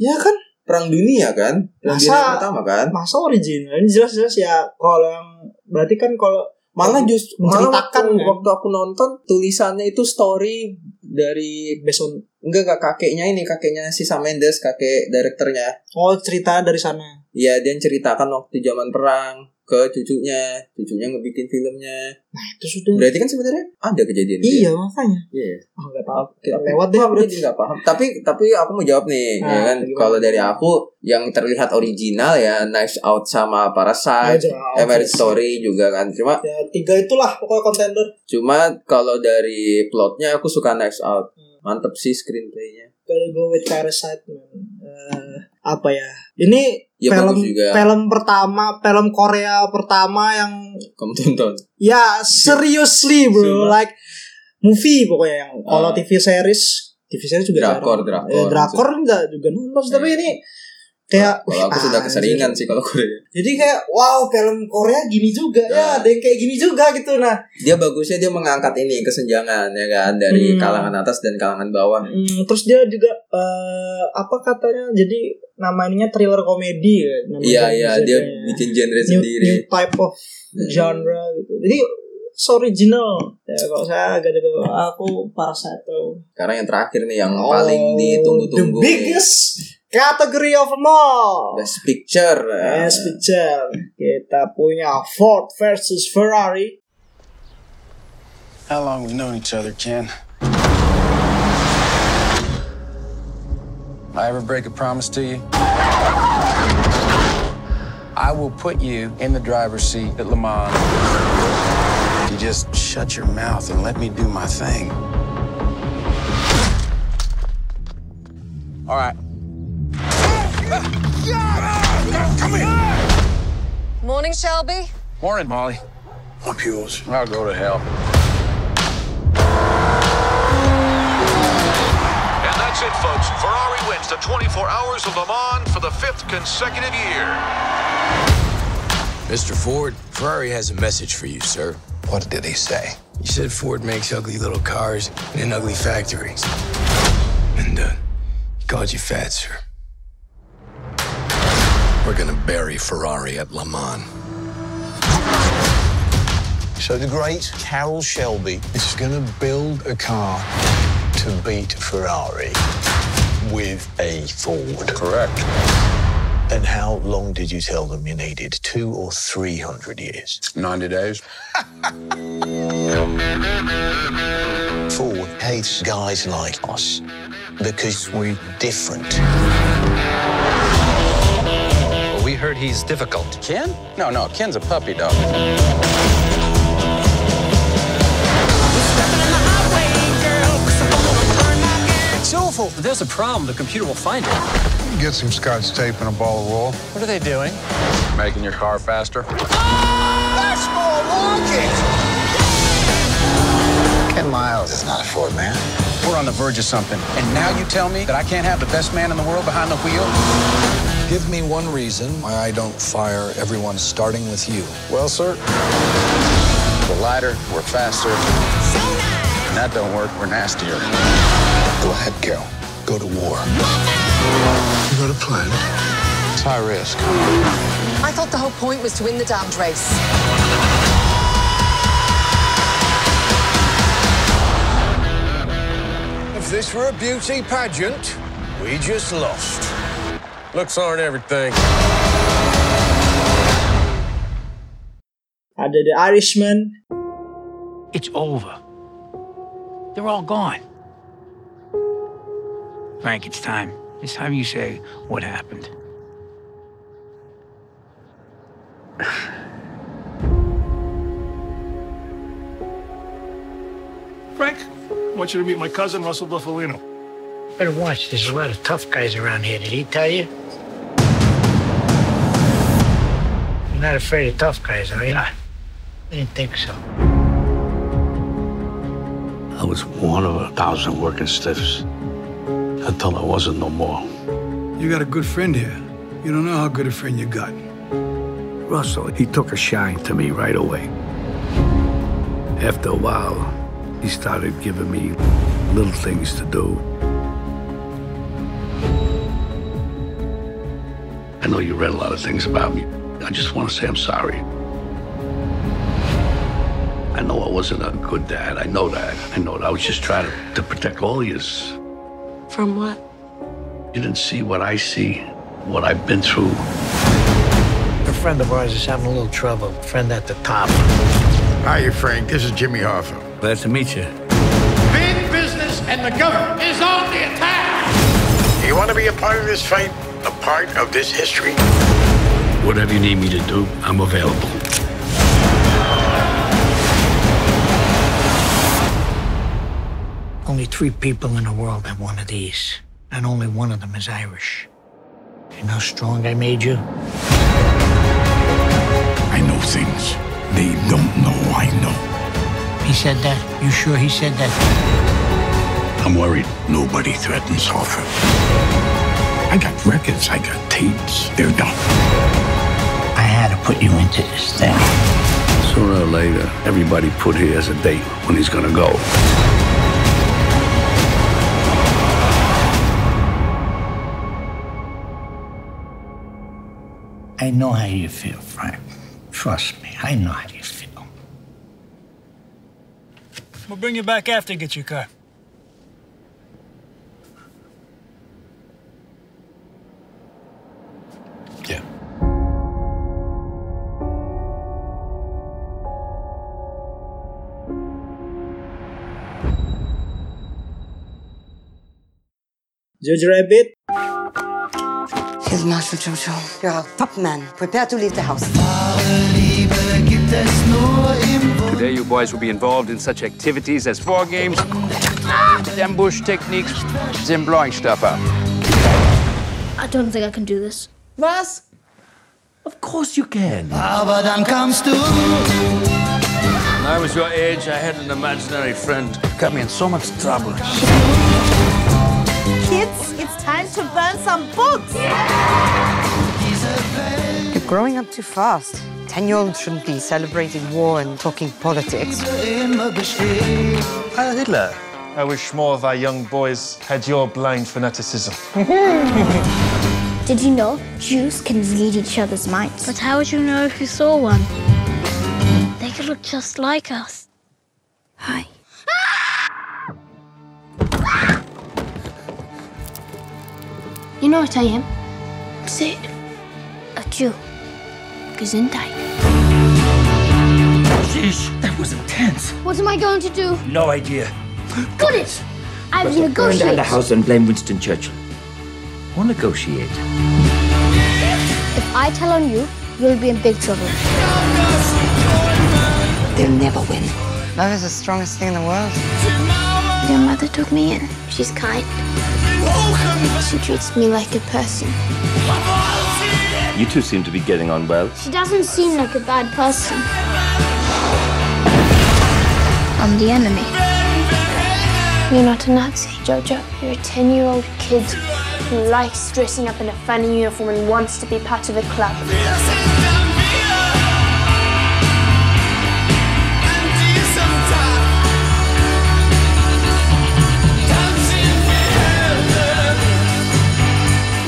S5: 1917
S6: Ya kan
S5: perang dunia kan perang
S6: Masa-
S5: dunia pertama kan
S6: masa original ini jelas-jelas ya kalau yang berarti kan kalau
S5: malah justru malah waktu,
S6: Menceritakan, kan?
S5: waktu aku nonton tulisannya itu story dari
S6: based on
S5: enggak enggak kakeknya ini kakeknya si Sam Mendes kakek direkturnya
S6: oh cerita dari sana.
S5: ya dia ceritakan waktu zaman perang ke cucunya cucunya ngebikin filmnya
S6: Itu sudah.
S5: berarti kan sebenarnya ada kejadian itu ya?
S6: Hmm. Iya makanya.
S5: Iya.
S6: Ah, nggak tahu.
S5: Oke, aku-
S6: Lewat deh,
S5: aku
S6: bro.
S5: jadi nggak paham. Tapi tapi aku mau jawab nih,
S6: Nah,
S5: ya kan?
S6: gimana?
S5: Kalau dari aku yang terlihat original ya Knives Out sama Parasite, eh,
S6: Aja,
S5: Marriage
S6: obvious.
S5: Story juga kan. Cuma
S6: Ya tiga itulah pokoknya kontender.
S5: cuma kalau dari plotnya
S6: Hmm.
S5: aku suka Knives Out. Mantep sih screenplaynya.
S6: Gotta go with Parasite man. Eh, apa ya? Ini
S5: Ya,
S6: film
S5: bagus juga.
S6: film pertama, film Korea pertama yang
S5: Kamu tonton.
S6: Ya seriously bro,
S5: Sumpah.
S6: like movie pokoknya yang kalau
S5: Ah.
S6: TV series, TV series juga
S5: Drakor, drakor.
S6: jarang.
S5: Hmm.
S6: Ya, drakor enggak juga nonton, tapi ini kayak
S5: Kalau aku
S6: wih,
S5: sudah
S6: Ah, anjir.
S5: keseringan sih kalau Korea.
S6: Jadi kayak wow film Korea gini juga
S5: Ah.
S6: ya, ada yang kayak gini juga gitu nah.
S5: Dia bagusnya dia mengangkat ini kesenjangan ya kan dari
S6: Hmm.
S5: kalangan atas dan kalangan bawah.
S6: Hmm, terus dia juga eh, apa katanya? Jadi namanya thriller komedi ya. nama
S5: Iya
S6: genre-
S5: iya dia
S6: genrenya.
S5: bikin genre
S6: new, new
S5: sendiri.
S6: type of genre gitu. Jadi it's original. Ya, kalau saya agak-agak aku parasite tuh.
S5: Sekarang yang terakhir nih yang paling ditunggu-tunggu.
S6: Oh, The
S5: nih.
S6: biggest category of them all.
S5: Best Picture.
S6: Best Picture. Kita punya Ford versus Ferrari.
S7: How long we've known each other, Ken? I ever break a promise to you? I will put you in the driver's seat at Le Mans. If you just shut your mouth and let me do my thing. All right.
S8: Morning, Shelby.
S7: Morning, Molly. I'm yours. I'll go to hell.
S3: And that's it, folks. Ferrari wins the 24 Hours of Le Mans for the fifth consecutive year.
S9: Mr. Ford, Ferrari has a message for you, sir. What did he say? He said Ford makes ugly little cars in ugly factories. And, uh, he called you fat, sir. We're gonna bury Ferrari at Le Mans. So the great Carol Shelby is gonna build a car to beat Ferrari with a Ford. Correct. And how long did you tell them you needed? Two or three hundred years?
S10: 90 days.
S9: Ford hates guys like us because we're different.
S11: We heard he's difficult.
S7: Ken? No, no, Ken's a puppy dog.
S11: It's awful. There's a problem. The computer will find it.
S12: Get some scotch tape and a ball of wool.
S7: What are they doing? Making your car faster.
S9: Ken Miles is not a Ford man.
S7: We're on the verge of something. And now you tell me that I can't have the best man in the world behind the wheel?
S9: Give me one reason why I don't fire everyone starting with you.
S7: Well, sir, we're lighter, we're faster. And that don't work, we're nastier.
S9: Go ahead, Carol. Go to war. You got a plan? It's high risk.
S8: I thought the whole point was to win the damned race.
S9: If this were a beauty pageant, we just lost. Looks aren't everything.
S6: Ada The Irishman.
S11: It's over. They're all gone. Frank, it's time. It's time you say what happened.
S13: Frank, I want you to meet my cousin, Russell Buffalino.
S11: Better watch. There's a lot of tough guys around here. Did he tell you? You're not afraid of tough guys, are you? I didn't think so.
S10: I was one of a thousand working stiffs until I wasn't no more.
S7: You got a good friend here. You don't know how good a friend you got.
S10: Russell, he took a shine to me right away. After a while, he started giving me little things to do. I know you read a lot of things about me. I just want to say I'm sorry. I know I wasn't a good dad. I know that. I know that. I was just trying to, to protect all of yous.
S8: From what?
S10: You didn't see what I see, what I've been through.
S11: A friend of ours is having a little trouble. A friend at the top.
S12: Hiya, Frank. This is Jimmy Hoffa.
S10: Glad to meet you.
S3: Big business and the government is on the attack.
S12: You want to be a part of this fight? A part of this history?
S10: Whatever you need me to do, I'm available.
S11: Only three people in the world have one of these, and only one of them is Irish.
S14: And how strong I made you?
S15: I know things they don't know I know.
S14: He said that? You sure he said that?
S15: I'm worried nobody threatens Hoffer. I got records, I got tapes. They're done.
S14: I had to put you into this thing.
S15: Sooner or later, everybody put here as a date when he's gonna go.
S14: I know how you feel, Frank. Trust me, I know how you feel. We'll bring you back after you get your car.
S6: Jojo Rabbit
S10: Here's Marshal Jojo. You're our top man. Prepare to leave the house.
S16: Today, you boys will be involved in such activities as war games, ambush techniques, and blowing stuff up.
S8: I don't think I can do this.
S10: Was?
S16: Of course you can.
S8: Aber dann kamst du.
S16: When I was your age, I had an imaginary friend. Got me in so much trouble.
S17: Kids, it's time to burn some books.
S10: You're growing up too fast. Ten year olds shouldn't be celebrating war and talking politics.
S18: Heil Hitler. I wish more of our young boys had your blind fanaticism.
S8: Did you know Jews can read each other's minds? But how would you know if you saw one? They could look just like us. Hi. You know what I am? Sit. A Jew. Gesundheit.
S14: Jeez, that was intense.
S8: What am I going to do?
S14: No idea.
S8: Got it! I will negotiate.
S14: and blame Winston Churchill. Or negotiate.
S8: If I tell on you, you'll be in big trouble.
S10: They'll never win. Love is the strongest thing in the world.
S8: Your mother took me in. She's kind. She treats me like a person.
S3: You two seem to be getting on well.
S8: She doesn't seem like a bad person. I'm the enemy. You're not a Nazi. Jojo, you're a 10 year old kid who likes dressing up in a funny uniform and wants to be part of a club.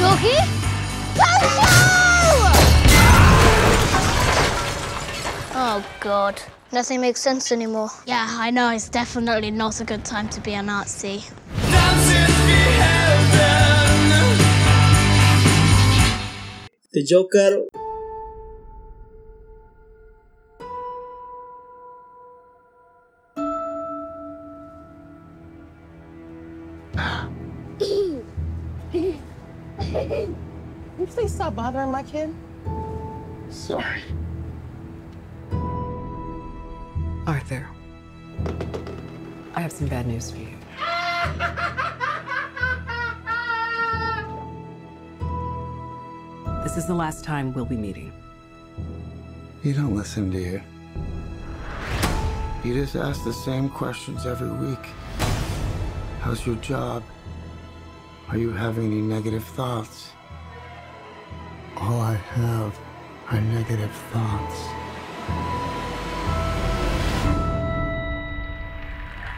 S8: Yogi?
S19: Oh, God. Nothing makes sense anymore. Yeah, I know. It's definitely not a good time to be a Nazi.
S6: The Joker
S20: you please stop bothering my kid?
S16: Sorry.
S21: Arthur, I have some bad news for you. This is the last time we'll be meeting.
S7: You don't listen, do you? You just ask the same questions every week. How's your job? Are you having any negative thoughts? All I have are negative thoughts.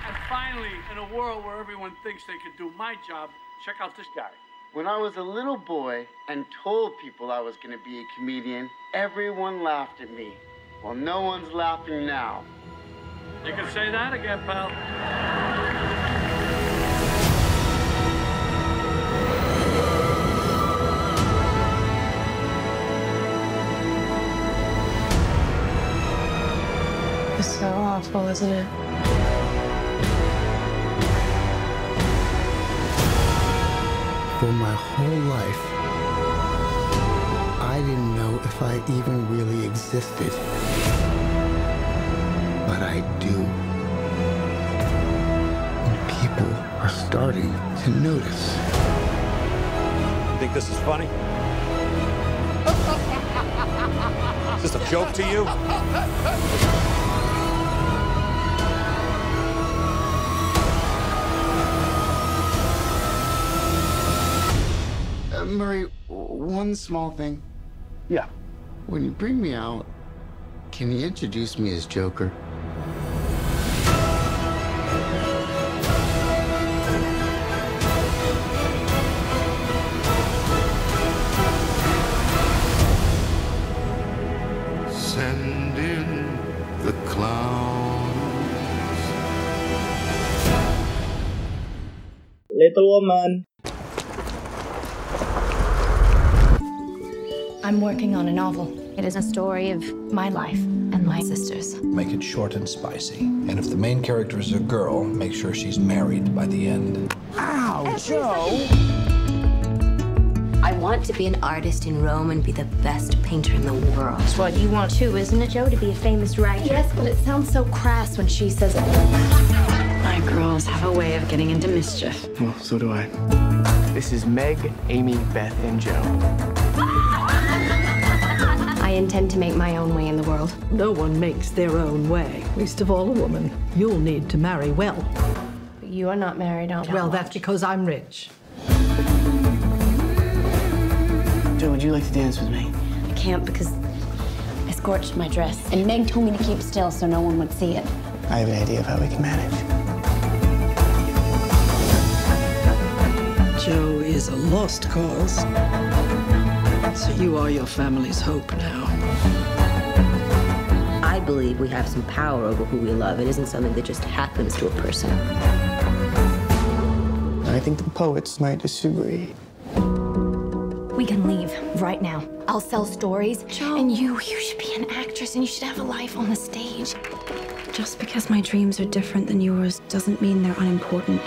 S22: And finally, in a world where everyone thinks they can do my job, check out this guy.
S9: When I was a little boy and told people I was going to be a comedian, everyone laughed at me. Well, no one's laughing now.
S22: You can say that again, pal.
S23: It's so awful, isn't it?
S7: For my whole life, I didn't know if I even really existed. But I do. And people are starting to notice.
S24: Think this is funny?
S25: this a joke to you?
S26: Uh, Murray, w- one small thing.
S25: Yeah.
S26: When you bring me out, can you introduce me as Joker?
S27: Send in the clowns.
S6: Little Woman.
S28: I'm working on a novel. It is a story of my life and my sister's.
S7: Make it short and spicy. And if the main character is a girl, make sure she's married by the end.
S9: Ow, Joe! I want to be an artist in Rome and be the best painter in the world. That's what you want too, isn't it, Joe? To be a famous writer. Yes, but it sounds so crass when she says it.
S29: My girls have a way of getting into mischief.
S30: Well, so do I. This is Meg, Amy, Beth, and Joe.
S9: I intend to make my own way in the world.
S10: No one makes their own way, least of all a woman. You'll need to marry well.
S9: You are not married, aren't you?
S10: Well, that's because I'm rich.
S30: Joe, would you like to dance with me?
S29: I can't because I scorched my dress, and Meg told me to keep still so no one would see it.
S30: I have an idea of how we can manage.
S10: Joe is a lost cause. So you are your family's hope now.
S9: I believe we have some power over who we love. It isn't something that just happens to a person.
S30: I think the poets might disagree.
S9: We can leave right now. I'll sell stories. And you, you should be an actress and you should have a life on the stage.
S29: Just because my dreams are different than yours doesn't mean they're unimportant.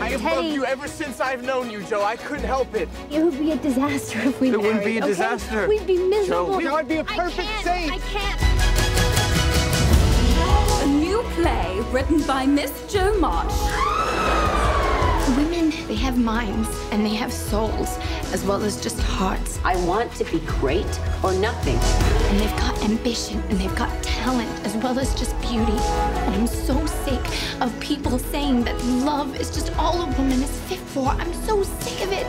S30: I have loved you ever since I've known you, Joe. I couldn't help it.
S9: It would be a disaster if we
S30: It wouldn't be a
S9: married, okay?
S30: disaster.
S9: We'd be
S30: Joe.
S9: miserable.
S30: We would be a
S9: I
S30: perfect
S9: can't,
S30: saint.
S9: I can't.
S10: A new play written by Miss Jo March.
S9: Women, they have minds and they have souls, as well as just hearts. I want to be great or nothing. And they've got ambition and they've got talent, as well as just beauty. And I'm so sick of people saying that love is just all a woman is fit for. I'm so sick of it.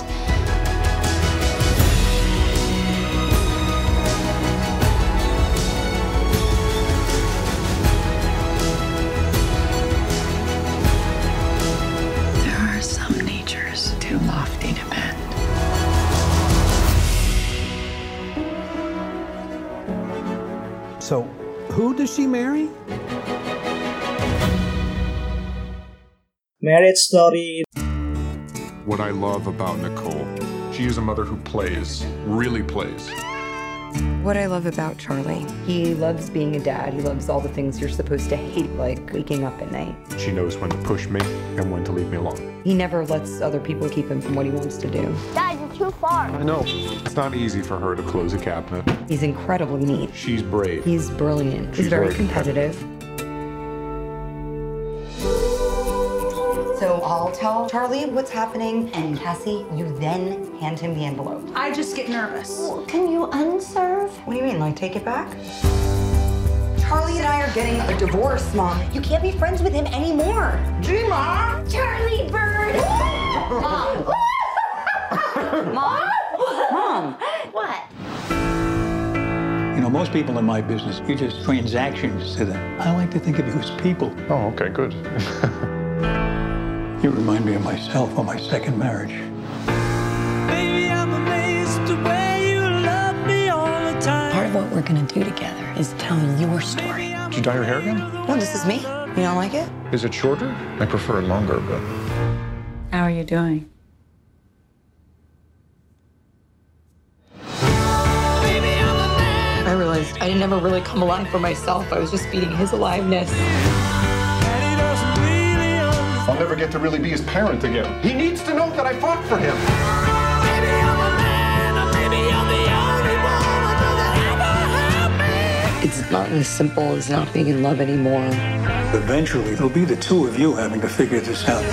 S29: There are some natures too lofty to bend.
S25: So, who does she marry?
S6: Marriage Story.
S16: What I love about Nicole, she is a mother who plays, really plays.
S8: What I love about Charlie, he loves being a dad. He loves all the things you're supposed to hate, like waking up at night.
S16: She knows when to push me and when to leave me alone.
S8: He never lets other people keep him from what he wants to do.
S31: Dad, you're too far.
S16: I know it's not easy for her to close a cabinet.
S8: He's incredibly neat.
S16: She's brave.
S8: He's brilliant.
S16: She's
S8: He's very
S16: very
S8: competitive. So I'll tell Charlie what's happening, and Cassie, you then hand him the envelope.
S32: I just get nervous.
S8: Can you unserve? What do you mean, like take it back? Charlie and I are getting a divorce, Mom. You can't be friends with him anymore. Gma!
S31: Charlie
S8: [LAUGHS]
S31: Bird!
S8: Mom.
S31: Mom?
S8: Mom.
S31: What?
S25: You know, most people in my business, you're just transactions to them. I like to think of you as people.
S16: Oh, okay, good.
S25: [LAUGHS] You remind me of myself on my second marriage.
S8: Part of what we're gonna do together is tell your story.
S16: Did you dye your hair again?
S8: No, this is me. You don't like it?
S16: Is it shorter? I prefer it longer, but
S29: How are you doing?
S8: I realized I didn't ever really come alive for myself. I was just feeding his aliveness.
S16: I'll never get to really be his parent again. He needs to know that I fought for him.
S8: It's not as simple as not being in love anymore.
S25: Eventually, it'll be the two of you having to figure this out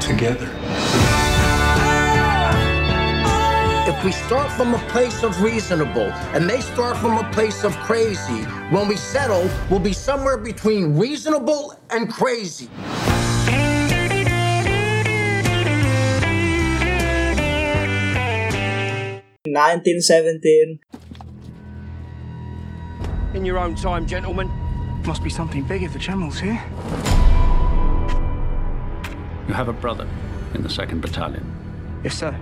S25: together.
S8: If
S5: We start from a place of reasonable, and they start from a place of crazy. When we settle, we'll be somewhere between reasonable and crazy.
S6: Nineteen seventeen.
S33: In your own time, gentlemen. Must be something big if the channel's here.
S3: You have a brother in the 2nd Battalion.
S34: Yes, sir.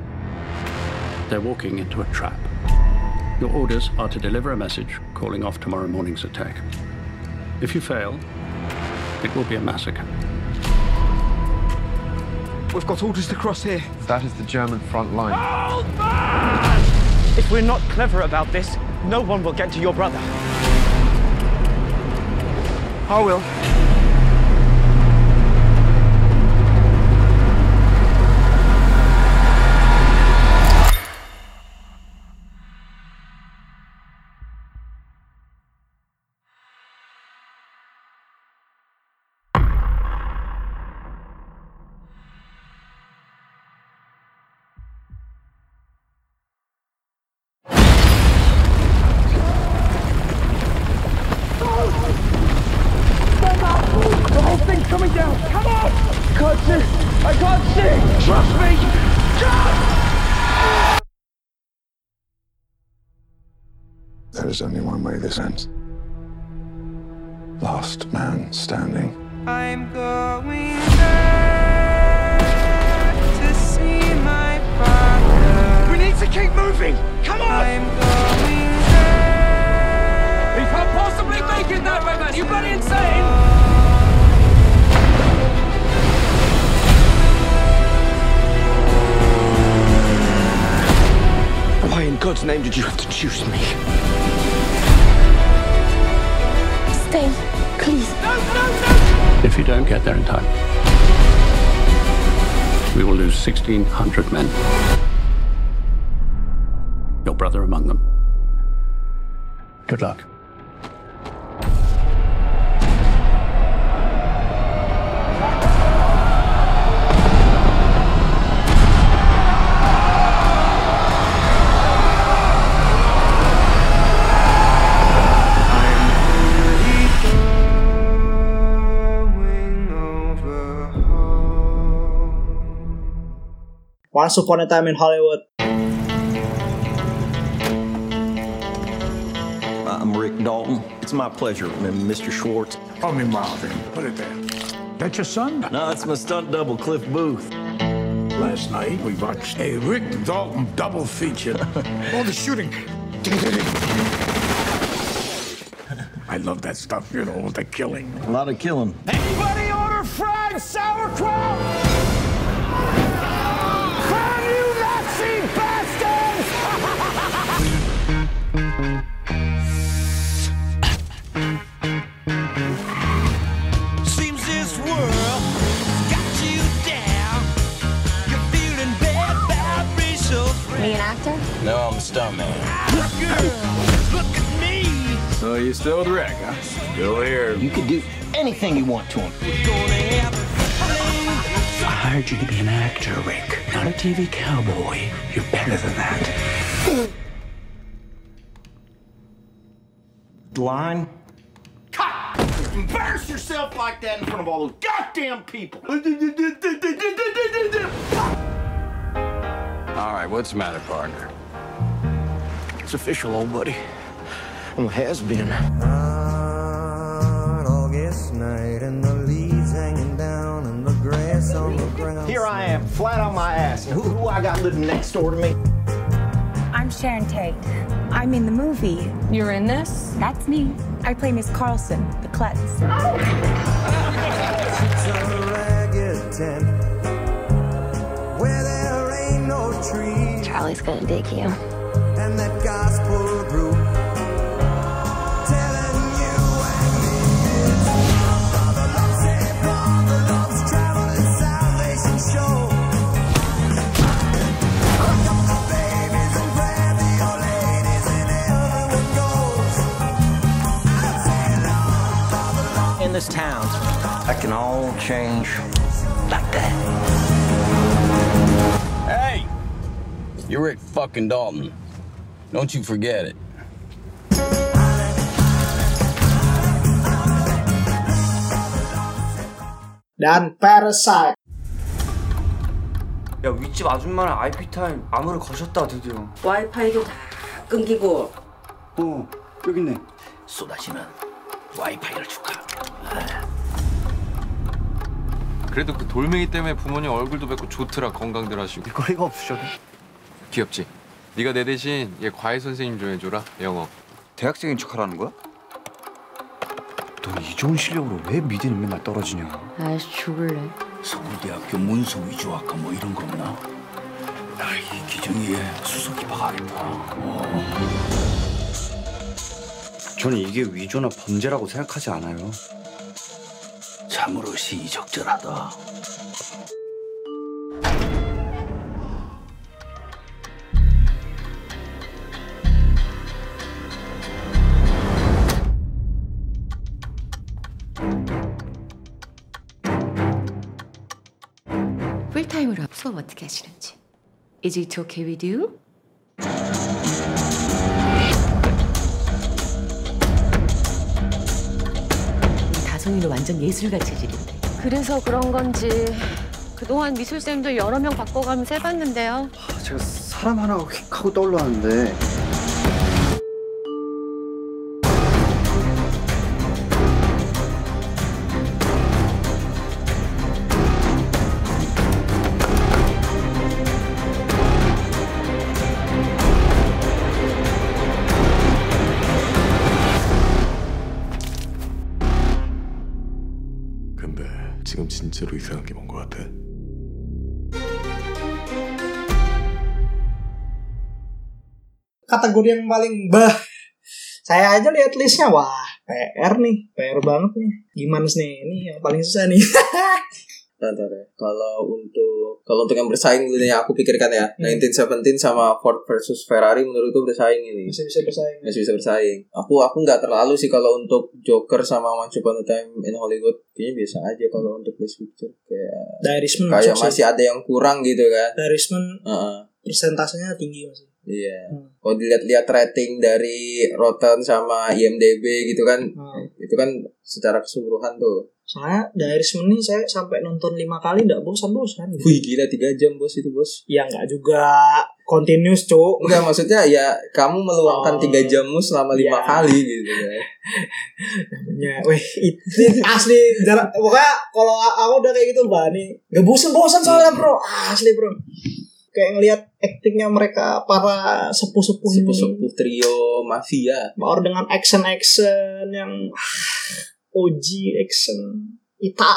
S3: They're walking into a trap. Your orders are to deliver a message calling off tomorrow morning's attack. If you fail, it will be a massacre.
S34: We've got orders to cross here. That is the German front line.
S35: If we're not clever about this, no one will get to your brother.
S34: I will.
S16: The whole thing's coming down. Come on! I can't see. I can't see. Trust me.
S36: There is only one way this ends. Last man standing.
S10: I'm going back to see my father. We need to keep moving. Come on! I'm going back. You can't possibly make it that way, man. You're bloody insane.
S34: Why in God's name did you have to choose me?
S16: Stay, please. No, no, no!
S3: If you don't get there in time, we will lose 1,600 men. Your brother among them. Good luck.
S6: Once Upon a Time in Hollywood.
S8: I'm Rick Dalton. It's my pleasure, M- Mr. Schwartz. Call me Marvin. Put it there. That's your son? No, it's my stunt double, Cliff Booth. Last night we watched a Rick Dalton double feature.
S37: [LAUGHS] All the shooting. I love that stuff, you know, the killing.
S8: A lot of killing.
S16: Anybody order fried sauerkraut? Can you Nazi bastards! Seems this world has got you down. You're feeling bad vibrations. Are you an actor?
S8: No, I'm a stuntman.
S16: So you still with Rick, huh?
S8: Still here. You can do anything you want to him.
S37: I hired you to be an actor, Rick, not a TV cowboy. You're better than that.
S8: Line?
S16: Cut! Embarrass yourself like that in front of all those goddamn people!
S33: All right, what's the matter, partner?
S16: It's official, old buddy. I'm a has been.
S9: August night and the leaves hanging down and the grass on the ground.
S16: Here I am, flat on my ass. And who, who I got living next door to me?
S38: I'm Sharon Tate. I'm in the movie. You're in this? That's me. I play Miss Carlson, the klutz.
S9: It's a ragged tent where there ain't no trees.
S38: Charlie's gonna dig you.
S9: And that gospel group telling you I miss. Father loves it, father loves travel and salvation show. I got my babies in prayer, the old ladies in heaven goes.
S8: In this town, that can all change like that.
S16: Hey!
S39: You're Rick fucking Dalton. Don't you forget it.
S6: dan Parasite.
S9: 야 윗집 아줌마랑 IP 타임 암호를 거셨다 드디어.
S8: 와이파이도 다 끊기고
S9: 어 여기 있네.
S8: 쏟아지는 와이파이를 줄까?
S40: 그래도 그 돌멩이 때문에 부모님 얼굴도 뵙고 좋더라 건강들 하시고 거리가 없으셔도 귀엽지? 네가 내 대신 얘 과외 선생님 좀 해줘라 영어 대학생인 척하라는 거야?
S16: 넌이 좋은 실력으로 왜 미대는 맨날 떨어지냐?
S8: 아이씨 죽을래.
S16: 서울대학교 문서 위조학과 뭐 이런 거 없나? 아이 기정이에 수석이 박하겠다. 어. 저는 이게 위조나 범죄라고 생각하지 않아요. 참으로 시의적절하다.
S8: 풀타임으로 수업 어떻게 하시는지. Is it okay with you?
S41: 다솜이는 완전 예술가 체질인데
S42: 그래서 그런 건지 그동안 미술쌤도 여러 명 바꿔가면서 해봤는데요.
S16: 제가 사람 하나가 휙 하고 떠올랐는데
S43: 근데 지금 진짜로 이상한 게 뭔 것 같아?
S6: Kategori yang paling bah. Saya aja lihat listnya wah PR nih, PR banget nih. Gimana sih nih? Ini yang paling susah nih. [LAUGHS]
S5: Bentar ya. Kalau untuk kalau untuk yang bersaing dulu nih, aku pikirkan ya.
S6: Hmm.
S5: 1917 sama Ford versus Ferrari menurutku bersaing ini.
S6: Masih bisa bersaing.
S5: Masih bisa bersaing. Aku aku nggak terlalu sih kalau untuk Joker sama Once Upon a Time in Hollywood kayaknya biasa aja kalau untuk Best Picture kayak
S6: The Irishman
S5: kayak
S6: masuk sih.
S5: masih ada yang kurang gitu kan.
S6: The Irishman
S5: Heeh.
S6: persentasenya tinggi masih.
S5: Iya. Kalau dilihat-lihat rating dari Rotten sama IMDb gitu kan,
S6: Hmm.
S5: itu kan secara keseluruhan tuh.
S6: Nah, Soalnya The Irishman ini saya sampai nonton lima kali nggak bosan-bosan. gitu.
S5: Wih gila tiga jam bos itu bos.
S6: Ya nggak juga continuous cuk.
S5: Enggak maksudnya ya kamu meluangkan tiga jammu selama lima kali gitu ya.
S6: Ya, weh, itu asli jarak pokoknya kalau aku udah kayak gitu mbak nih gak bosen-bosen soalnya bro asli bro kayak ngelihat aktingnya mereka para sepuh-sepuh ini
S5: Sepuh-sepuh trio mafia.
S6: baru dengan action action yang OG action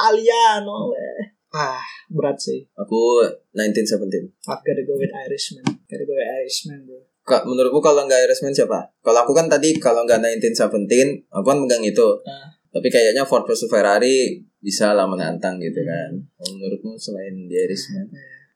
S6: Italiano weh. ah berat sih
S5: Aku 1917.
S6: I've gotta go with Irishman gotta go with Irishman bro
S5: Ka- menurutku kalau nggak Irishman siapa? Kalau aku kan tadi kalau nggak 1917, aku kan megang itu.
S6: Nah.
S5: Tapi kayaknya Ford versus Ferrari bisa lah menantang
S6: Hmm.
S5: gitu kan. Kalau Menurutmu selain The Irishman?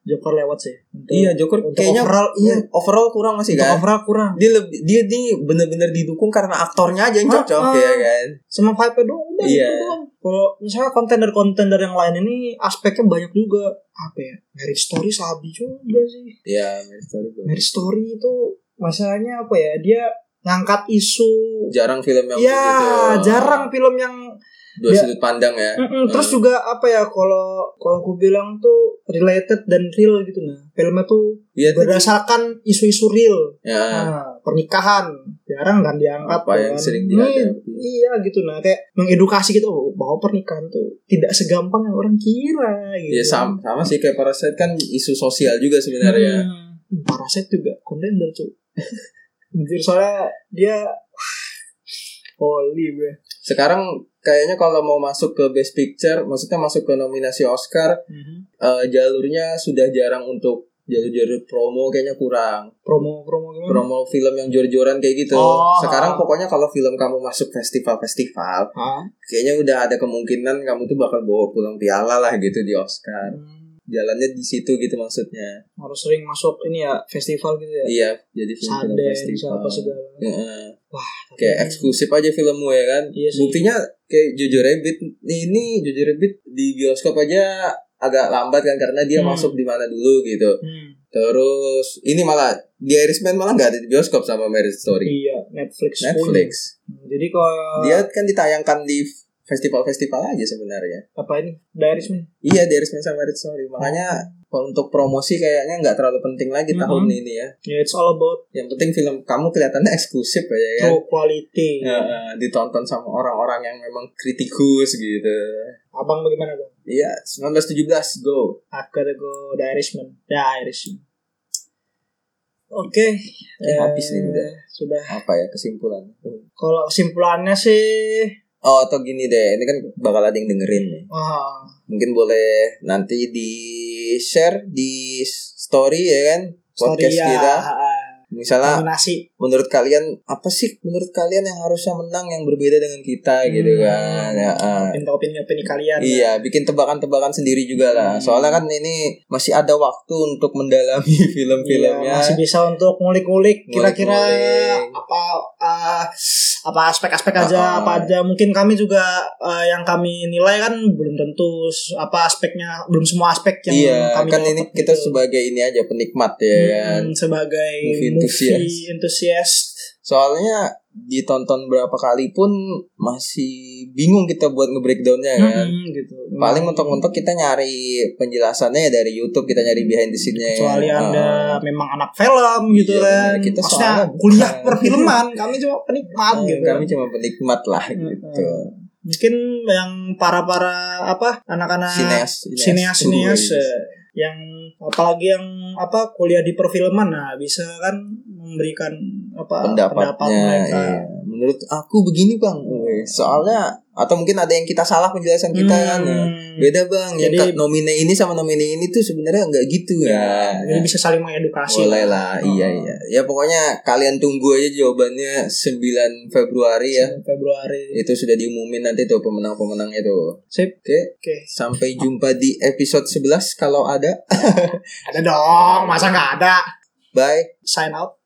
S6: Joker lewat sih
S5: iya Joker
S6: untuk
S5: kayaknya
S6: overall,
S5: iya, overall kurang masih
S6: Untuk
S5: kan?
S6: overall kurang.
S5: Dia lebih dia dia bener-bener didukung karena aktornya aja yang
S6: Ah,
S5: cocok
S6: ah.
S5: ya kan.
S6: sama vibe doang udah
S5: Iya.
S6: gitu doang. kalau misalnya konten dari konten dari yang lain ini aspeknya banyak juga apa ya marriage story sabi juga sih
S5: Iya, Marriage Story. bagus.
S6: marriage story itu masalahnya apa ya dia ngangkat isu
S5: Jarang gitu. film yang
S6: ya
S5: begitu.
S6: jarang film yang
S5: Dua
S6: dia-
S5: sudut pandang ya.
S6: Mm-mm, terus
S5: Eh,
S6: juga apa ya kalau kalau aku bilang tuh related dan real gitu nah filmnya tuh
S5: Iya, tuh.
S6: berdasarkan isu-isu real
S5: Ya.
S6: Nah, pernikahan jarang kan diangkat
S5: Apa yang
S6: kan.
S5: sering
S6: Ini-
S5: dihadapi.
S6: iya gitu nah kayak mengedukasi gitu oh, bahwa pernikahan tuh tidak segampang yang orang kira gitu
S5: Ya sama, sama sih kayak Parasite kan isu sosial juga sebenarnya.
S6: Hmm, Parasite juga kontender cuy [LAUGHS] Anjir soalnya dia Holy bro
S5: Sekarang kayaknya kalau mau masuk ke Best Picture, maksudnya masuk ke nominasi Oscar, eh, jalurnya sudah jarang untuk jalur-jalur promo kayaknya kurang.
S6: promo promo gimana
S5: Promo film yang jor-joran kayak gitu.
S6: Hmm. Oh,
S5: Sekarang
S6: ah.
S5: pokoknya kalau film kamu masuk festival-festival,
S6: Hah?
S5: kayaknya udah ada kemungkinan kamu tuh bakal bawa pulang piala lah gitu di Oscar.
S6: Hmm.
S5: Jalannya di situ gitu maksudnya.
S6: harus sering masuk ini ya festival gitu ya
S5: Iya, jadi film-film
S6: Sundance,
S5: festival.
S6: apa segala.
S5: Heeh.
S6: Wah,
S5: kayak eksklusif aja filmmu ya kan.
S6: Iya
S5: Buktinya kayak Jojo Rabbit ini Jojo Rabbit di bioskop aja agak lambat kan karena dia
S6: Hmm.
S5: masuk di mana dulu gitu. Terus ini malah di Irishman malah nggak ada di bioskop sama Marriage Story.
S6: Iya, Netflix. pun.
S5: Netflix.
S6: Jadi kalau
S5: Dia kan ditayangkan di festival-festival aja sebenarnya.
S6: apa ini? The Irishman.
S5: Iya, The Irishman sama Marriage Story. Makanya untuk promosi kayaknya nggak terlalu penting lagi
S6: Mhm.
S5: tahun ini ya.
S6: Ya, it's all about
S5: Yang penting film kamu kelihatannya eksklusif aja ya.
S6: true quality.
S5: Ya, ditonton sama orang-orang yang memang kritikus gitu.
S6: Abang bagaimana bang?
S5: Iya, 1917 go.
S6: I gotta go The Irishman. The Irishman. Oke.
S5: Eh, habis nih udah.
S6: Sudah.
S5: Apa ya kesimpulannya?
S6: Kalau kesimpulannya sih,
S5: Oh, atau gini deh, ini kan bakal ada yang dengerin nih.
S6: wah,
S5: Mungkin boleh nanti di share di story ya kan podcast
S6: story ya,
S5: kita.
S6: ah, ah,
S5: Misalnya
S6: nominasi.
S5: menurut kalian apa sih menurut kalian yang harusnya menang yang berbeda dengan kita gitu
S6: Hmm.
S5: kan ya, ah.
S6: Minta opini-opini kalian.
S5: iya bikin tebakan-tebakan sendiri juga
S6: Hmm.
S5: lah soalnya kan ini masih ada waktu untuk mendalami [LAUGHS] film-filmnya
S6: Iya, Masih bisa untuk ngulik-ngulik kira-kira
S5: Ngulik-ngulik.
S6: apa ah, apa aspek-aspek aja
S5: Ah, ah.
S6: apa aja mungkin kami juga eh, yang kami nilai kan belum tentu s- apa aspeknya belum semua aspek yang
S5: iya
S6: kami
S5: kan
S6: dapat gitu.
S5: ini kita sebagai ini aja penikmat ya kan
S6: Hmm, sebagai
S5: Movie
S6: movie
S5: enthusiast.
S6: enthusiast.
S5: soalnya ditonton berapa kali pun masih bingung kita buat nge-breakdownnya kan
S6: Hmm, gitu.
S5: paling mentok-mentok kita nyari penjelasannya ya dari YouTube kita nyari behind the scene-nya
S6: kecuali
S5: Ah.
S6: anda memang anak film gitu
S5: Iya,
S6: kan
S5: bener. Kita
S6: maksudnya
S5: soalnya bukan.
S6: kuliah perfilman kami cuma penikmat gitu
S5: Hmm,
S6: Hmm,
S5: kami cuma penikmat lah gitu
S6: mungkin yang para para apa anak-anak
S5: Sineas,
S6: sineas
S5: sineas,
S6: sineas
S5: guru. iya.
S6: eh, yang apalagi yang apa kuliah di perfilman nah bisa kan memberikan apa
S5: pendapatnya
S6: mereka
S5: iya. menurut aku begini bang
S6: Hmm.
S5: Weh, soalnya atau mungkin ada yang kita salah penjelasan kita kan ya.
S6: Hmm.
S5: beda bang
S6: Jadi- Iya,
S5: yang nomine ini sama nomine ini tuh sebenarnya nggak gitu ya,
S6: jadi bisa saling mengedukasi
S5: boleh lah iya iya ya pokoknya kalian tunggu aja jawabannya 9 Februari ya
S6: Februari
S5: itu sudah diumumin nanti tuh pemenang-pemenangnya tuh
S6: sip
S5: oke
S6: oke
S5: sampai jumpa di episode 11 kalau ada [LAUGHS]
S6: ada dong masa nggak ada
S5: bye
S6: sign out